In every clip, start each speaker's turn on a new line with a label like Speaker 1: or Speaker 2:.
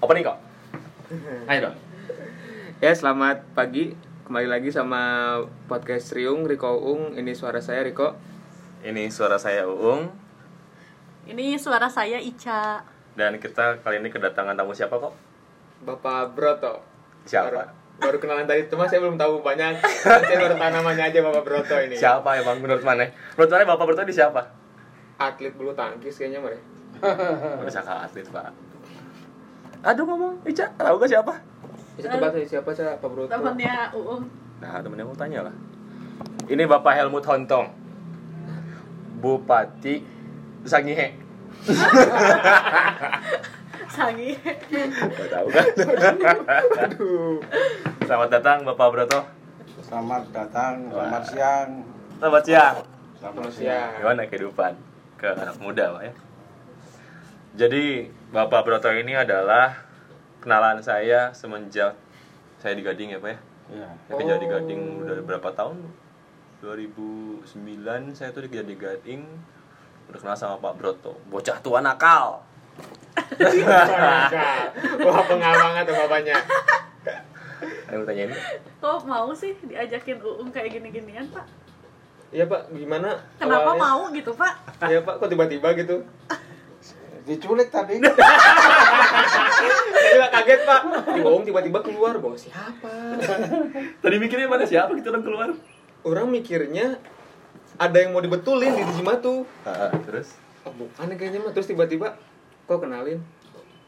Speaker 1: Apa nih kok? Ayo dong.
Speaker 2: Ya selamat pagi kembali lagi sama podcast Riung Riko Ung ini suara saya Riko
Speaker 3: Ini suara saya Uung
Speaker 4: Ini suara saya Ica.
Speaker 3: dan kita kali ini kedatangan tamu siapa kok?
Speaker 2: Bapak Broto
Speaker 3: Siapa?
Speaker 2: baru, baru kenalan tadi cuma saya belum tahu banyak saya baru tahu namanya aja Bapak Broto ini
Speaker 3: Siapa emang menurut mana? Menurut mana bapak bertanya di siapa?
Speaker 2: atlet bulu tangkis kayaknya mereka
Speaker 1: Eh.
Speaker 3: Bisa ke atlet pak. Aduh ngomong, Ica, tahu gak siapa?
Speaker 2: bisa tebak saya siapa saya Pak Broto
Speaker 4: Temennya Uung.
Speaker 3: Nah temennya mau tanya lah. Ini bapak Helmut Hontong, Bupati Sangihe.
Speaker 4: Sangi.
Speaker 3: Gak tahu kan?
Speaker 2: Aduh.
Speaker 3: Selamat datang bapak Broto.
Speaker 5: Selamat datang,
Speaker 3: Wah.
Speaker 5: selamat siang.
Speaker 3: Selamat siang.
Speaker 5: Selamat
Speaker 2: siang.
Speaker 3: Gimana kehidupan ke anak muda, Pak ya? Jadi, Bapak Broto ini adalah kenalan saya semenjak saya di Gading ya, Pak ya.
Speaker 5: Iya.
Speaker 3: Saya kerja di
Speaker 2: Oh.
Speaker 3: Gading udah berapa tahun? 2009 saya tuh kerja di Gading udah kenal sama Pak Broto. Bocah tua nakal.
Speaker 2: Wah pengalaman banget tuh bapaknya
Speaker 3: Ayo tanyain.
Speaker 4: Kok mau sih diajakin Uung kayak gini-ginian, Pak?
Speaker 2: Iya Pak gimana
Speaker 4: Kenapa
Speaker 2: awalnya?
Speaker 4: mau gitu, Pak?
Speaker 2: Iya Pak kok tiba-tiba gitu
Speaker 5: Diculik tadi.
Speaker 2: Saya juga kaget Pak Dibohong tiba-tiba keluar bawa siapa
Speaker 3: Tadi mikirnya mana siapa gitu orang keluar?
Speaker 2: orang mikirnya ada yang mau dibetulin di Jimatu
Speaker 3: Ah, terus
Speaker 2: oh, bukan kayaknya mah terus tiba-tiba kok kenalin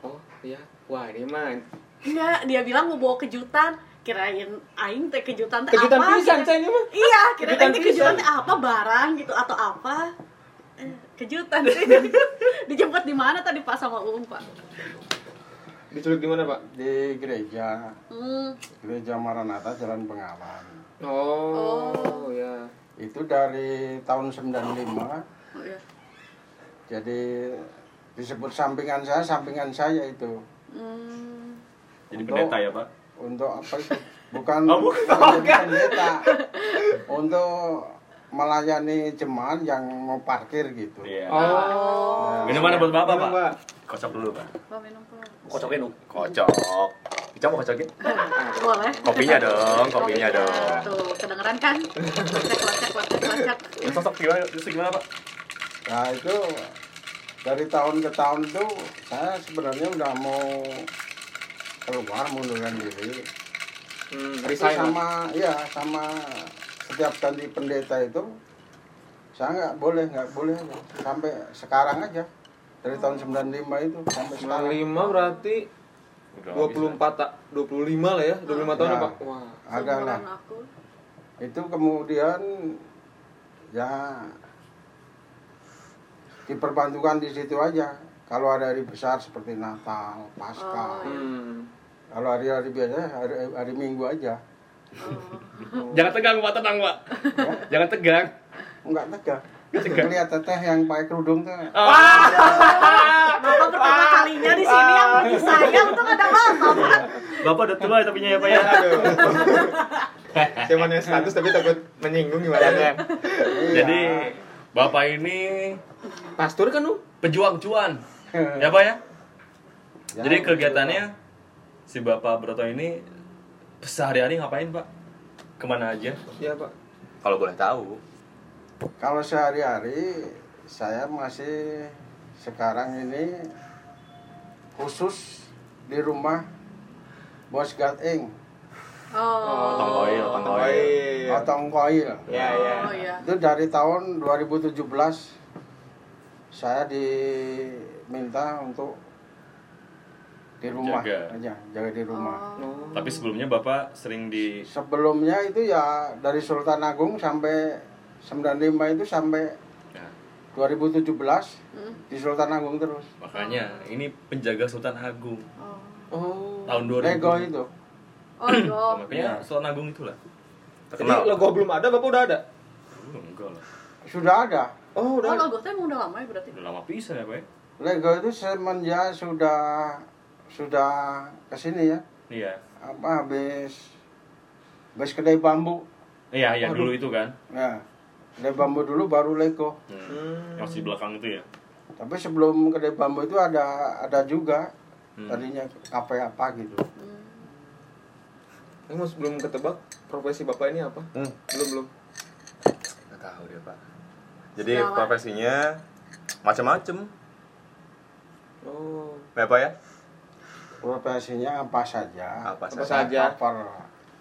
Speaker 2: oh iya wah ini mah
Speaker 4: Enggak, dia bilang mau bawa kejutan. Kirain aing teh kejutan teh
Speaker 2: kejutan
Speaker 4: apa?
Speaker 2: pisan
Speaker 4: kira-
Speaker 2: saya ini mah
Speaker 4: Iya, kirain
Speaker 2: Kejutan
Speaker 4: aing teh kejutan
Speaker 2: pisan.
Speaker 4: teh apa barang gitu atau apa? Eh, Kejutan. Dijemput di mana tadi Pak sama Uung, Pak?
Speaker 2: diculik di mana pak
Speaker 5: Di gereja,
Speaker 4: Hmm.
Speaker 5: gereja Maranatha Jalan Bengawan.
Speaker 2: oh,
Speaker 4: Oh.
Speaker 2: ya
Speaker 5: Itu dari tahun 95.
Speaker 4: Oh, iya.
Speaker 5: Jadi disebut sampingan saya, sampingan saya itu.
Speaker 4: Hmm.
Speaker 3: jadi
Speaker 5: Untuk-
Speaker 3: pendeta ya, Pak.
Speaker 5: Untuk apa itu? Bukan
Speaker 3: Oh, bukan.
Speaker 5: jadi pendeta. Untuk melayani jemaat yang mau parkir gitu.
Speaker 3: Iya.
Speaker 2: oh
Speaker 3: Minuman buat Bapak,
Speaker 2: Minum,
Speaker 3: Pak. Kocok dulu, Pak.
Speaker 4: Pak minum, Pak.
Speaker 1: Kocokin lu.
Speaker 3: Kocok. Ica mau ya? kocokin?
Speaker 4: Boleh.
Speaker 3: Kopinya dong, kopinya dong.
Speaker 4: Tuh, kedengeran kan? Kocak, kocak, kocak, kocak.
Speaker 3: Ini Ya, sosok gimana? Justru gimana pak?
Speaker 5: Nah itu dari tahun ke tahun itu saya sebenarnya udah mau keluar mundurkan diri.
Speaker 2: hmm,
Speaker 5: Tapi
Speaker 2: resign Pak.
Speaker 5: sama ya sama setiap ganti pendeta itu saya nggak boleh nggak boleh sampai sekarang aja dari tahun 95 itu sampai sekarang.
Speaker 2: 95 berarti 24 tak 25 lah ya 25 tahun
Speaker 5: Ya.
Speaker 2: ya, pak wah
Speaker 5: Ada lah.
Speaker 4: Seumuran aku.
Speaker 5: Itu kemudian ya diperbantukan di situ aja. Kalau ada hari besar seperti Natal, Paskah,
Speaker 4: Oh, iya.
Speaker 2: hmm.
Speaker 5: Kalau hari-hari biasa, hari, hari Minggu aja.
Speaker 1: Jangan tegang, Pak, tenang, Pak. Jangan tegang.
Speaker 5: Enggak tegak. Melihat teteh yang pakai kerudung tuh.
Speaker 3: Ah.
Speaker 1: Ah.
Speaker 4: Bapak pertama kalinya di sini yang bagi saya untung ada bapak. Pak.
Speaker 3: Bapak udah tua tapi ya pak ya.
Speaker 2: aduh saya mau nanya status tapi takut menyinggung
Speaker 3: Iya,
Speaker 2: gimana
Speaker 5: Iya.
Speaker 1: Jadi, Bapak ini
Speaker 2: pastur kan um
Speaker 1: pejuang cuan. Ya, Pak ya?
Speaker 5: Ya,
Speaker 1: Jadi kegiatannya si Bapak Broto ini sehari-hari ngapain, Pak? Kemana aja?
Speaker 2: iya pak
Speaker 3: Kalau boleh tahu.
Speaker 5: Kalau sehari-hari saya masih sekarang ini khusus di rumah Bos Gating
Speaker 4: Oh.
Speaker 3: Tong koil, tong koil.
Speaker 2: Oil.
Speaker 5: Otong Koil.
Speaker 2: Ya, ya.
Speaker 4: Oh iya.
Speaker 5: Itu dari tahun 2017 saya diminta untuk di rumah
Speaker 1: Jaga.
Speaker 5: aja, jaga di rumah.
Speaker 4: iya.
Speaker 2: Oh.
Speaker 1: Tapi sebelumnya Bapak sering di
Speaker 5: sebelumnya itu ya dari Sultan Agung sampai 95 itu sampai
Speaker 1: Nah,
Speaker 5: 2017 di Sultan Agung terus
Speaker 1: makanya ini penjaga Sultan Agung
Speaker 4: Oh.
Speaker 2: Oh.
Speaker 1: tahun 2000.
Speaker 5: Lego itu
Speaker 4: Oh, iya.
Speaker 1: Makanya Sultan Agung itulah.
Speaker 2: Jadi logo belum ada, Bapak udah ada?
Speaker 1: Belum enggak lah.
Speaker 5: sudah ada
Speaker 2: Oh,
Speaker 4: Oh,
Speaker 2: udah.
Speaker 4: logo teh emang udah lama ya berarti.
Speaker 1: Udah lama pisan ya, Pak ya?
Speaker 5: Lego itu semenjak sudah sudah kesini ya
Speaker 1: Iya.
Speaker 5: apa habis habis kedai bambu
Speaker 1: Iya, iya dulu itu kan.
Speaker 5: nah kedai bambu dulu baru Lego
Speaker 1: Hmm. Yang di belakang itu ya.
Speaker 5: tapi sebelum kedai bambu itu ada ada juga tadinya KP apa gitu
Speaker 2: Ini mas belum ketebak profesi bapak ini apa?
Speaker 3: Hmm.
Speaker 2: Belum belum.
Speaker 3: Nggak tahu dia pak. Jadi
Speaker 4: Sejawat.
Speaker 3: profesinya macam-macam,
Speaker 2: Oh.
Speaker 3: ya pak ya?
Speaker 5: profesinya apa saja
Speaker 3: Apa
Speaker 2: Apa
Speaker 3: saja?
Speaker 2: saja?
Speaker 5: Cover.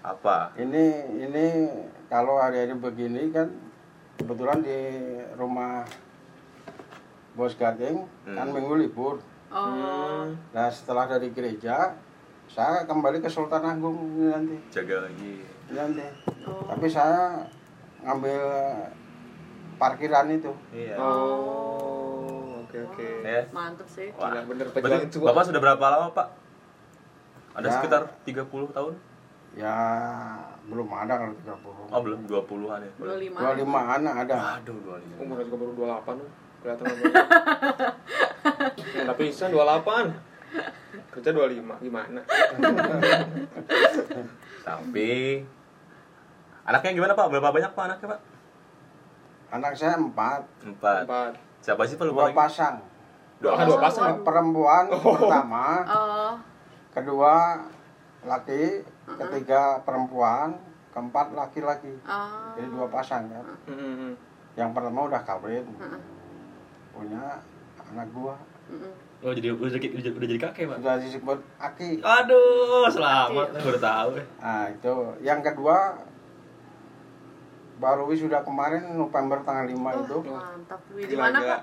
Speaker 3: Apa?
Speaker 5: ini ini kalau hari-hari begini kan kebetulan di rumah bos gading kan minggu libur
Speaker 4: Oh,
Speaker 5: nah setelah dari gereja saya kembali ke Sultan Agung ini nanti
Speaker 3: Jaga lagi.
Speaker 5: ini nanti
Speaker 4: Oh.
Speaker 5: tapi saya ngambil parkiran itu
Speaker 3: Iya.
Speaker 2: Oh. Oke oke.
Speaker 3: Ya.
Speaker 4: mantep sih.
Speaker 3: Wah.
Speaker 2: Gila, bener pejuang
Speaker 3: Berarti
Speaker 2: tua.
Speaker 3: bapak sudah berapa lama pak? Ada
Speaker 5: Ya.
Speaker 3: sekitar 30 tahun?
Speaker 5: ya belum ada kalau
Speaker 3: Oh belum, 20-an ya?
Speaker 4: 25.
Speaker 5: 30 25 anak ada
Speaker 3: Aduh, 25
Speaker 2: Umurnya juga baru 28 loh. Kelihatan umurnya. Hmm, Tapi Ihsan 28. Kerja 25 gimana?
Speaker 3: Tapi Anaknya gimana pak? Berapa banyak pak anaknya pak?
Speaker 5: anak saya empat
Speaker 3: Empat
Speaker 2: Empat.
Speaker 3: Siapa sih pak
Speaker 5: dua
Speaker 3: lupa lagi?
Speaker 5: pasang
Speaker 2: Dua, ah, dua pasang.
Speaker 5: perempuan pertama
Speaker 4: Oh,
Speaker 5: kedua laki, ketiga perempuan, keempat laki-laki.
Speaker 4: oh.
Speaker 5: Jadi dua pasang kan.
Speaker 2: Hmm, hmm, hmm.
Speaker 5: Yang pertama udah kawin, punya anak gua
Speaker 1: Oh jadi udah, udah, udah jadi kakek pak?
Speaker 5: sudah disebut aki.
Speaker 1: Aduh, selamat. Baru tahu. ya.
Speaker 5: Nah itu yang kedua baru wisuda kemarin November tanggal 5
Speaker 4: Oh.
Speaker 5: itu
Speaker 4: Mantap. Wih, di
Speaker 2: Gila,
Speaker 4: mana,
Speaker 2: gila.
Speaker 4: Pak?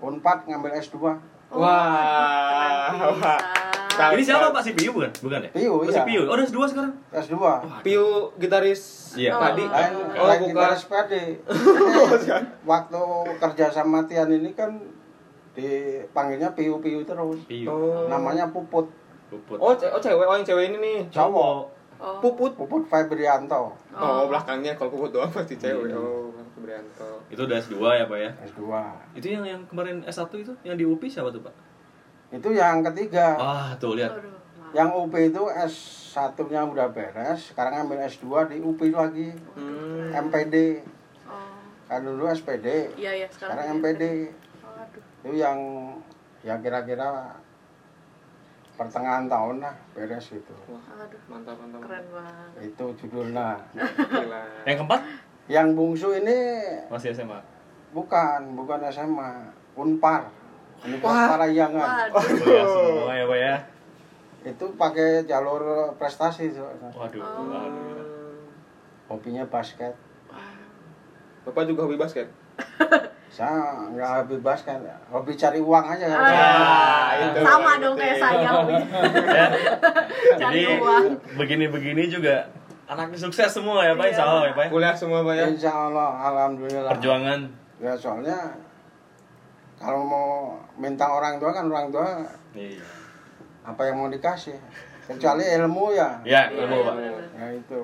Speaker 4: Oh,
Speaker 5: Unpad ngambil S2.
Speaker 2: Wah.
Speaker 4: keren
Speaker 2: Wah.
Speaker 4: pisan.
Speaker 2: Tahu,
Speaker 1: Ini siapa
Speaker 2: tahu.
Speaker 1: pak? Si Piu bukan? Bukan ya?
Speaker 5: Piu,
Speaker 1: Oh,
Speaker 5: iya.
Speaker 1: Si Piu. Oh, udah dua sekarang?
Speaker 5: S2.
Speaker 2: Piu gitaris
Speaker 1: Iya.
Speaker 2: padi.
Speaker 5: Lain
Speaker 2: Oh,
Speaker 5: lain
Speaker 2: bukan.
Speaker 5: gitaris PD. Waktu kerja sama Tian ini kan dipanggilnya piu-piu terus.
Speaker 1: Piu.
Speaker 2: Oh.
Speaker 5: Namanya Puput.
Speaker 1: Puput.
Speaker 2: Oh, ce- oh cewek, oh yang cewek ini nih.
Speaker 5: Cowok.
Speaker 4: Oh.
Speaker 2: Puput.
Speaker 5: Puput Febrianto
Speaker 2: Oh, belakangnya kalau puput doang pasti cewek. Oh, Brianto.
Speaker 1: Itu udah S2 ya pak ya?
Speaker 5: S2
Speaker 1: Itu yang yang kemarin S1 itu yang di UPI siapa tuh pak?
Speaker 5: itu yang ketiga
Speaker 3: Oh.
Speaker 1: Ah tuh lihat.
Speaker 4: Aduh, mantap.
Speaker 5: yang UP itu S1 nya udah beres sekarang ambil S2 di UP lagi
Speaker 2: Hmm.
Speaker 5: MPD
Speaker 4: Oh.
Speaker 5: kan dulu SPD
Speaker 4: Iya, iya, sekarang.
Speaker 5: sekarang
Speaker 4: jadi-
Speaker 5: MPD
Speaker 4: Aduh.
Speaker 5: itu yang yang kira-kira pertengahan tahun lah beres itu
Speaker 4: Aduh,
Speaker 2: Mantap, mantap.
Speaker 4: keren banget.
Speaker 5: itu judulnya
Speaker 2: Gila.
Speaker 1: Yang keempat
Speaker 5: yang bungsu ini
Speaker 1: masih SMA.
Speaker 5: bukan bukan SMA Unpar Universitas Parayangan
Speaker 4: Waduh.
Speaker 1: Oh, ya, semua ya pak ya.
Speaker 5: itu pakai jalur prestasi so.
Speaker 1: Waduh.
Speaker 4: Oh.
Speaker 1: waduh.
Speaker 5: hobinya basket
Speaker 2: Bapak juga hobi basket?
Speaker 5: saya nggak hobi basket hobi cari uang aja kan
Speaker 2: itu.
Speaker 4: Sama dong kayak saya. Wi.
Speaker 1: Ya, Jadi
Speaker 4: Cari uang.
Speaker 1: begini-begini juga anaknya sukses semua ya pak?
Speaker 4: Iya.
Speaker 1: Insya Allah ya pak. ya?
Speaker 2: Kuliah semua Pak ya?
Speaker 5: insya Allah alhamdulillah
Speaker 1: Perjuangan.
Speaker 5: ya soalnya kalau mau minta orang tua kan orang tua
Speaker 1: Iya.
Speaker 5: apa yang mau dikasih kecuali ilmu ya
Speaker 1: Ya,
Speaker 4: Iya,
Speaker 1: ilmu pak.
Speaker 4: bener.
Speaker 5: ya itu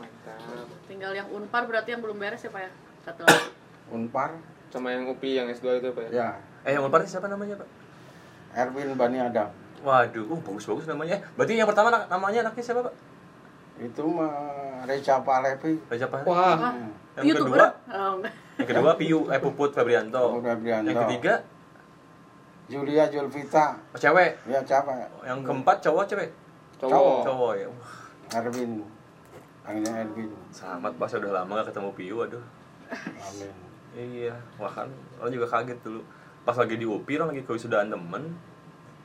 Speaker 2: Mantap.
Speaker 4: Tinggal yang unpar berarti yang belum beres ya, Pak ya? Satu lagi.
Speaker 5: unpar
Speaker 2: Sama yang UPI yang S2 itu Pak ya?
Speaker 5: ya
Speaker 3: Eh yang Unpad siapa namanya pak?
Speaker 5: Erwin Bani Adam
Speaker 3: Waduh, uh, bagus-bagus namanya. Berarti yang pertama anak- namanya anaknya siapa pak?
Speaker 5: itu mah Reza Palevi
Speaker 3: Reza Pahlavi.
Speaker 2: Wah,
Speaker 4: Wah,
Speaker 3: Yang
Speaker 4: YouTuber.
Speaker 3: kedua?
Speaker 4: Oh, enggak.
Speaker 3: Yang kedua Piu, eh Puput Febrianto.
Speaker 5: Puput Febrianto.
Speaker 3: Yang ketiga
Speaker 5: Julia Julvita
Speaker 3: oh, cewek.
Speaker 5: ya siapa
Speaker 3: Yang keempat cowok cewek.
Speaker 5: Cowok.
Speaker 2: cowok.
Speaker 3: Cowok ya. Wah,
Speaker 5: Erwin panggilnya Erwin
Speaker 3: selamat pak, saya udah lama gak ketemu Piu, aduh.
Speaker 5: amin
Speaker 3: Iya, wah kan orang juga kaget dulu. Pas lagi di UPI, orang lagi kewisudaannya temen,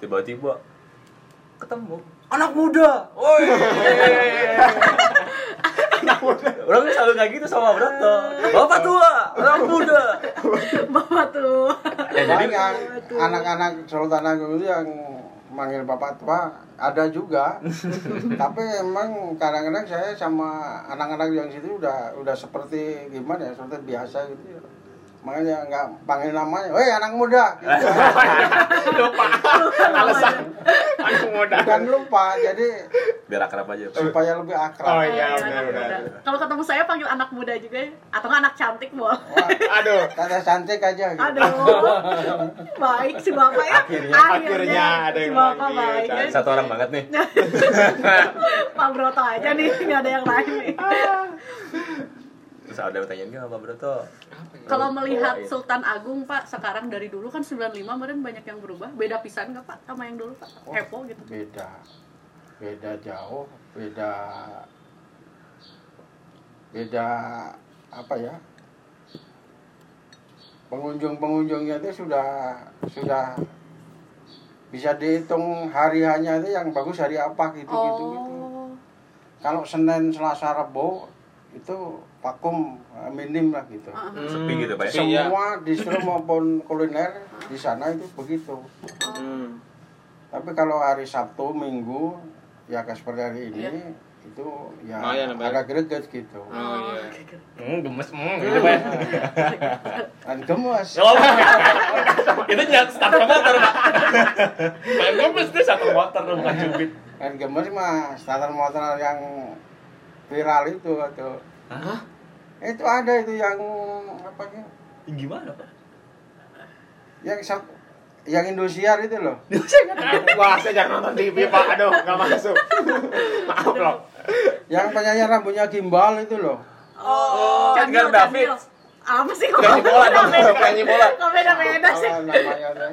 Speaker 3: tiba-tiba ketemu anak muda. Woi. orang selalu kayak gitu sama Broto. Bapak tua, anak muda.
Speaker 4: Bapak tuh.
Speaker 2: Eh,
Speaker 3: Ya, jadi
Speaker 5: Banyak anak-anak Sultan Agung itu yang manggil bapak tua ada juga. Tapi emang kadang-kadang saya sama anak-anak yang situ udah udah seperti gimana ya, seperti biasa gitu ya. Makanya nggak panggil namanya, weh anak muda. Gitu.
Speaker 2: Lupa. Alasan. Aku mau
Speaker 5: Bukan lupa, jadi
Speaker 3: biar akrab aja. Pak.
Speaker 5: supaya lebih
Speaker 2: Oh
Speaker 5: akrab.
Speaker 2: iya,
Speaker 4: Anak
Speaker 2: benar
Speaker 4: muda.
Speaker 2: benar.
Speaker 4: Kalau ketemu saya panggil anak muda juga ya? atau nggak anak cantik, Bu?
Speaker 5: Wah,
Speaker 2: Aduh.
Speaker 5: Kata cantik aja gitu.
Speaker 4: Aduh. baik si Bapak ya.
Speaker 2: Akhirnya- akhirnya ada
Speaker 4: si
Speaker 2: yang
Speaker 4: Bapak
Speaker 2: manggil,
Speaker 4: baik.
Speaker 2: cantik.
Speaker 4: ya.
Speaker 3: Satu orang banget nih.
Speaker 4: Pak Broto aja nih, nggak ada yang lain nih.
Speaker 3: Terus harus ada pertanyaan nggak Bapak Broto?
Speaker 4: ya? Kalau melihat
Speaker 3: Oh, iya.
Speaker 4: Sultan Agung Pak sekarang dari dulu kan 95 kemarin banyak yang berubah. Beda pisan nggak Pak sama yang dulu Pak?
Speaker 5: Oh.
Speaker 4: Kepo gitu.
Speaker 5: beda beda jauh beda beda apa ya pengunjung-pengunjungnya itu sudah sudah bisa dihitung hari hanya itu yang bagus hari apa gitu gitu, gitu.
Speaker 4: Oh.
Speaker 5: kalau Senin Selasa Rebo itu vakum eh, minim lah gitu
Speaker 4: Ah,
Speaker 2: Hmm,
Speaker 3: Sepi gitu, Pak, ya?
Speaker 2: sepi ya.
Speaker 5: semua distro maupun kuliner di sana itu begitu
Speaker 2: Hmm.
Speaker 5: Tapi kalau hari Sabtu, Minggu, ya kayak seperti hari ini,
Speaker 4: Iya.
Speaker 5: itu ya
Speaker 2: Oh, iya, nambah.
Speaker 5: agak greget gitu.
Speaker 1: Ah.
Speaker 2: Oh iya.
Speaker 1: Hmm, gemes, hmm, gitu pak.
Speaker 5: Dan gemes.
Speaker 1: Kalau itu nyat starter motor pak. Main gemes tuh starter motor bukan cubit.
Speaker 5: Dan gemes mah starter motor yang viral itu atau
Speaker 1: Hah?
Speaker 5: itu ada itu yang apa ya?
Speaker 1: Gimana pak?
Speaker 5: Yang Sab- yang Indosiar itu loh.
Speaker 2: Wah, saya jangan nonton TV, Pak. Aduh, nggak masuk. Maaf, loh.
Speaker 5: Yang penyanyi rambutnya gimbal itu loh.
Speaker 4: Oh,
Speaker 3: Kan
Speaker 4: Daniel,
Speaker 3: Gareth David.
Speaker 4: Daniel. Apa sih kok?
Speaker 2: Penyanyi bola dong, penyanyi bola.
Speaker 4: Kok beda-beda sih?
Speaker 5: Apa namanya tuh?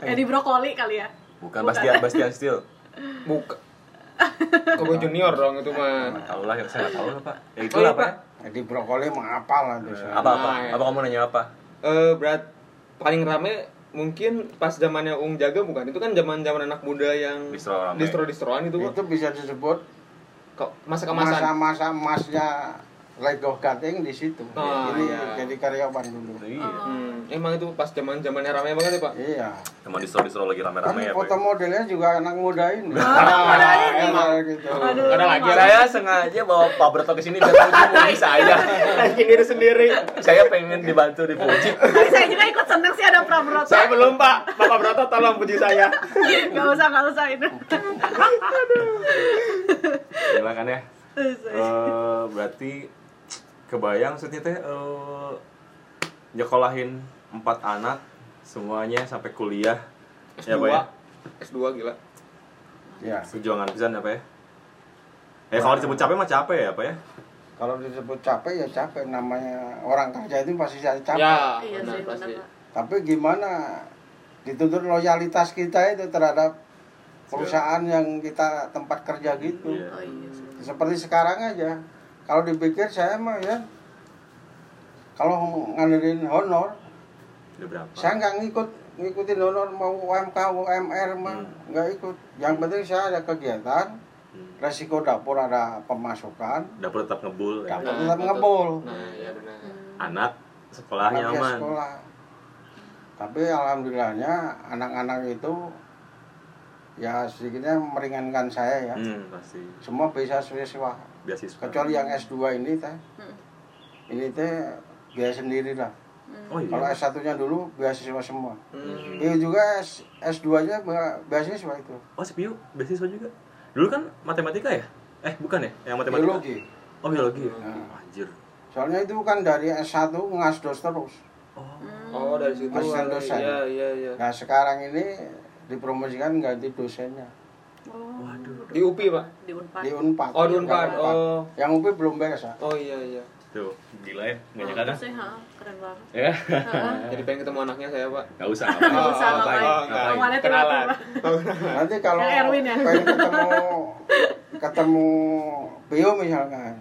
Speaker 2: Oh.
Speaker 4: Edi Brokoli kali ya?
Speaker 3: Bukan Bastian Bastian Steel.
Speaker 2: Buka. Kobo Junior dong itu mah.
Speaker 3: Tahu lah, saya nggak tahu lah Pak. Ya itulah
Speaker 2: iya,
Speaker 3: Pak.
Speaker 2: Pak.
Speaker 5: Jadi brokoli mah apal lah tuh. saya.
Speaker 3: Apa apa?
Speaker 2: Nah, iya.
Speaker 3: Apa kamu nanya apa?
Speaker 2: Eh, berat paling rame mungkin pas zamannya Ung Jaga bukan? Itu kan zaman-zaman anak muda yang
Speaker 3: Distro rame. Iya.
Speaker 2: distro-distroan itu,
Speaker 5: Itu
Speaker 2: Pak.
Speaker 5: bisa disebut
Speaker 2: Kok masa kemasan?
Speaker 5: masa-masa emasnya Lego Gating di situ.
Speaker 2: Oh,
Speaker 5: Ini
Speaker 2: iya.
Speaker 5: jadi karyawan dulu.
Speaker 3: Iya.
Speaker 4: Oh.
Speaker 2: Hmm, emang itu pas zaman-zamannya rame banget ya, Pak?
Speaker 5: Iya.
Speaker 3: Emang distro-distro lagi
Speaker 5: Tapi
Speaker 3: rame-rame ya,
Speaker 5: foto
Speaker 3: Pak.
Speaker 5: modelnya juga anak muda ini.
Speaker 2: Ah, muda ini.
Speaker 5: emang gitu.
Speaker 4: Aduh,
Speaker 2: Nggak ada lagi.
Speaker 3: Saya sengaja bawa Pak Broto ke sini biar puji mumi saya.
Speaker 2: Lagi diri sendiri.
Speaker 3: Saya pengen dibantu dipuji.
Speaker 4: Tapi saya juga ikut seneng sih ada Prabroto.
Speaker 2: Saya belum, Pak. Bapak Broto tolong puji saya.
Speaker 4: Gak usah, gak usah itu.
Speaker 3: Ya makanya eh berarti kebayang maksudnya teh eh, nyekolahin empat anak semuanya sampai kuliah ya Pak ya.
Speaker 2: Dua. S2 gila.
Speaker 5: Ya.
Speaker 3: Perjuangan pisan ya Pak ya. Eh kalau disebut capek mah capek ya Pak ya.
Speaker 5: Kalau disebut capek ya capek namanya orang kerja itu pasti jadi capek.
Speaker 2: Ya,
Speaker 4: Iya
Speaker 2: benar
Speaker 4: sih, benar
Speaker 2: pasti.
Speaker 4: Pak.
Speaker 5: Tapi gimana dituntut loyalitas kita itu terhadap perusahaan yang kita tempat kerja gitu.
Speaker 3: Iya.
Speaker 4: Oh iya sih.
Speaker 5: Seperti sekarang aja. Kalau dipikir saya mah ya kalau ngalirin honor
Speaker 3: Udah berapa?
Speaker 5: saya nggak ngikut ngikutin honor mau UMK UMR mah nggak ikut yang penting saya ada kegiatan
Speaker 3: Hmm.
Speaker 5: resiko dapur ada pemasukan
Speaker 3: Dapur tetap ngebul. ya.
Speaker 5: Dapur. Tetap ngebul.
Speaker 2: Nah, ya benar.
Speaker 3: Hmm. Anak sekolah
Speaker 5: anak ya
Speaker 3: Ah, nyaman.
Speaker 5: sekolah tapi alhamdulillahnya anak-anak itu ya sedikitnya meringankan saya ya
Speaker 3: Hmm, pasti.
Speaker 5: semua bisa siswa
Speaker 3: Beasiswa.
Speaker 5: kecuali ya. yang S2 ini teh
Speaker 4: Hmm.
Speaker 5: ini teh biaya sendiri lah
Speaker 3: Oh iya.
Speaker 5: kalau S1 nya dulu beasiswa semua
Speaker 2: Hmm.
Speaker 5: Iya juga S, S2 nya beasiswa itu
Speaker 3: Oh, CPU beasiswa juga. Dulu kan matematika ya? Eh, bukan ya? Yang matematika.
Speaker 5: biologi
Speaker 3: Oh, biologi. ya?
Speaker 5: Hmm.
Speaker 3: Anjir.
Speaker 5: Soalnya itu kan dari S1 ngasdos terus.
Speaker 3: Oh.
Speaker 4: Hmm.
Speaker 2: Oh, dari situ.
Speaker 5: Asisten
Speaker 2: ada-
Speaker 5: dosen.
Speaker 2: Iya, iya, iya.
Speaker 5: Nah sekarang ini dipromosikan ganti dosennya
Speaker 4: Waduh.
Speaker 2: Di UPI, Pak.
Speaker 4: Oh. Di Unpad.
Speaker 5: di Unpad.
Speaker 2: Oh, di Unpad. Oh.
Speaker 5: Yang UPI belum beres ya.
Speaker 2: Oh iya iya.
Speaker 3: Tuh, gila ya. Enggak
Speaker 4: Oh,
Speaker 3: nyangka kan?
Speaker 4: sih, ha, keren banget.
Speaker 3: Ya.
Speaker 2: Jadi pengen ketemu anaknya saya, Pak. Oh,
Speaker 3: Enggak usah.
Speaker 4: Nggak
Speaker 3: Enggak
Speaker 4: usah, ngapain. Kemarin tuh
Speaker 2: Kenalan.
Speaker 4: apa?
Speaker 2: Hmm.
Speaker 5: Nanti kalau
Speaker 4: Yang Erwin ya?
Speaker 5: pengen ketemu ketemu Bio misalkan,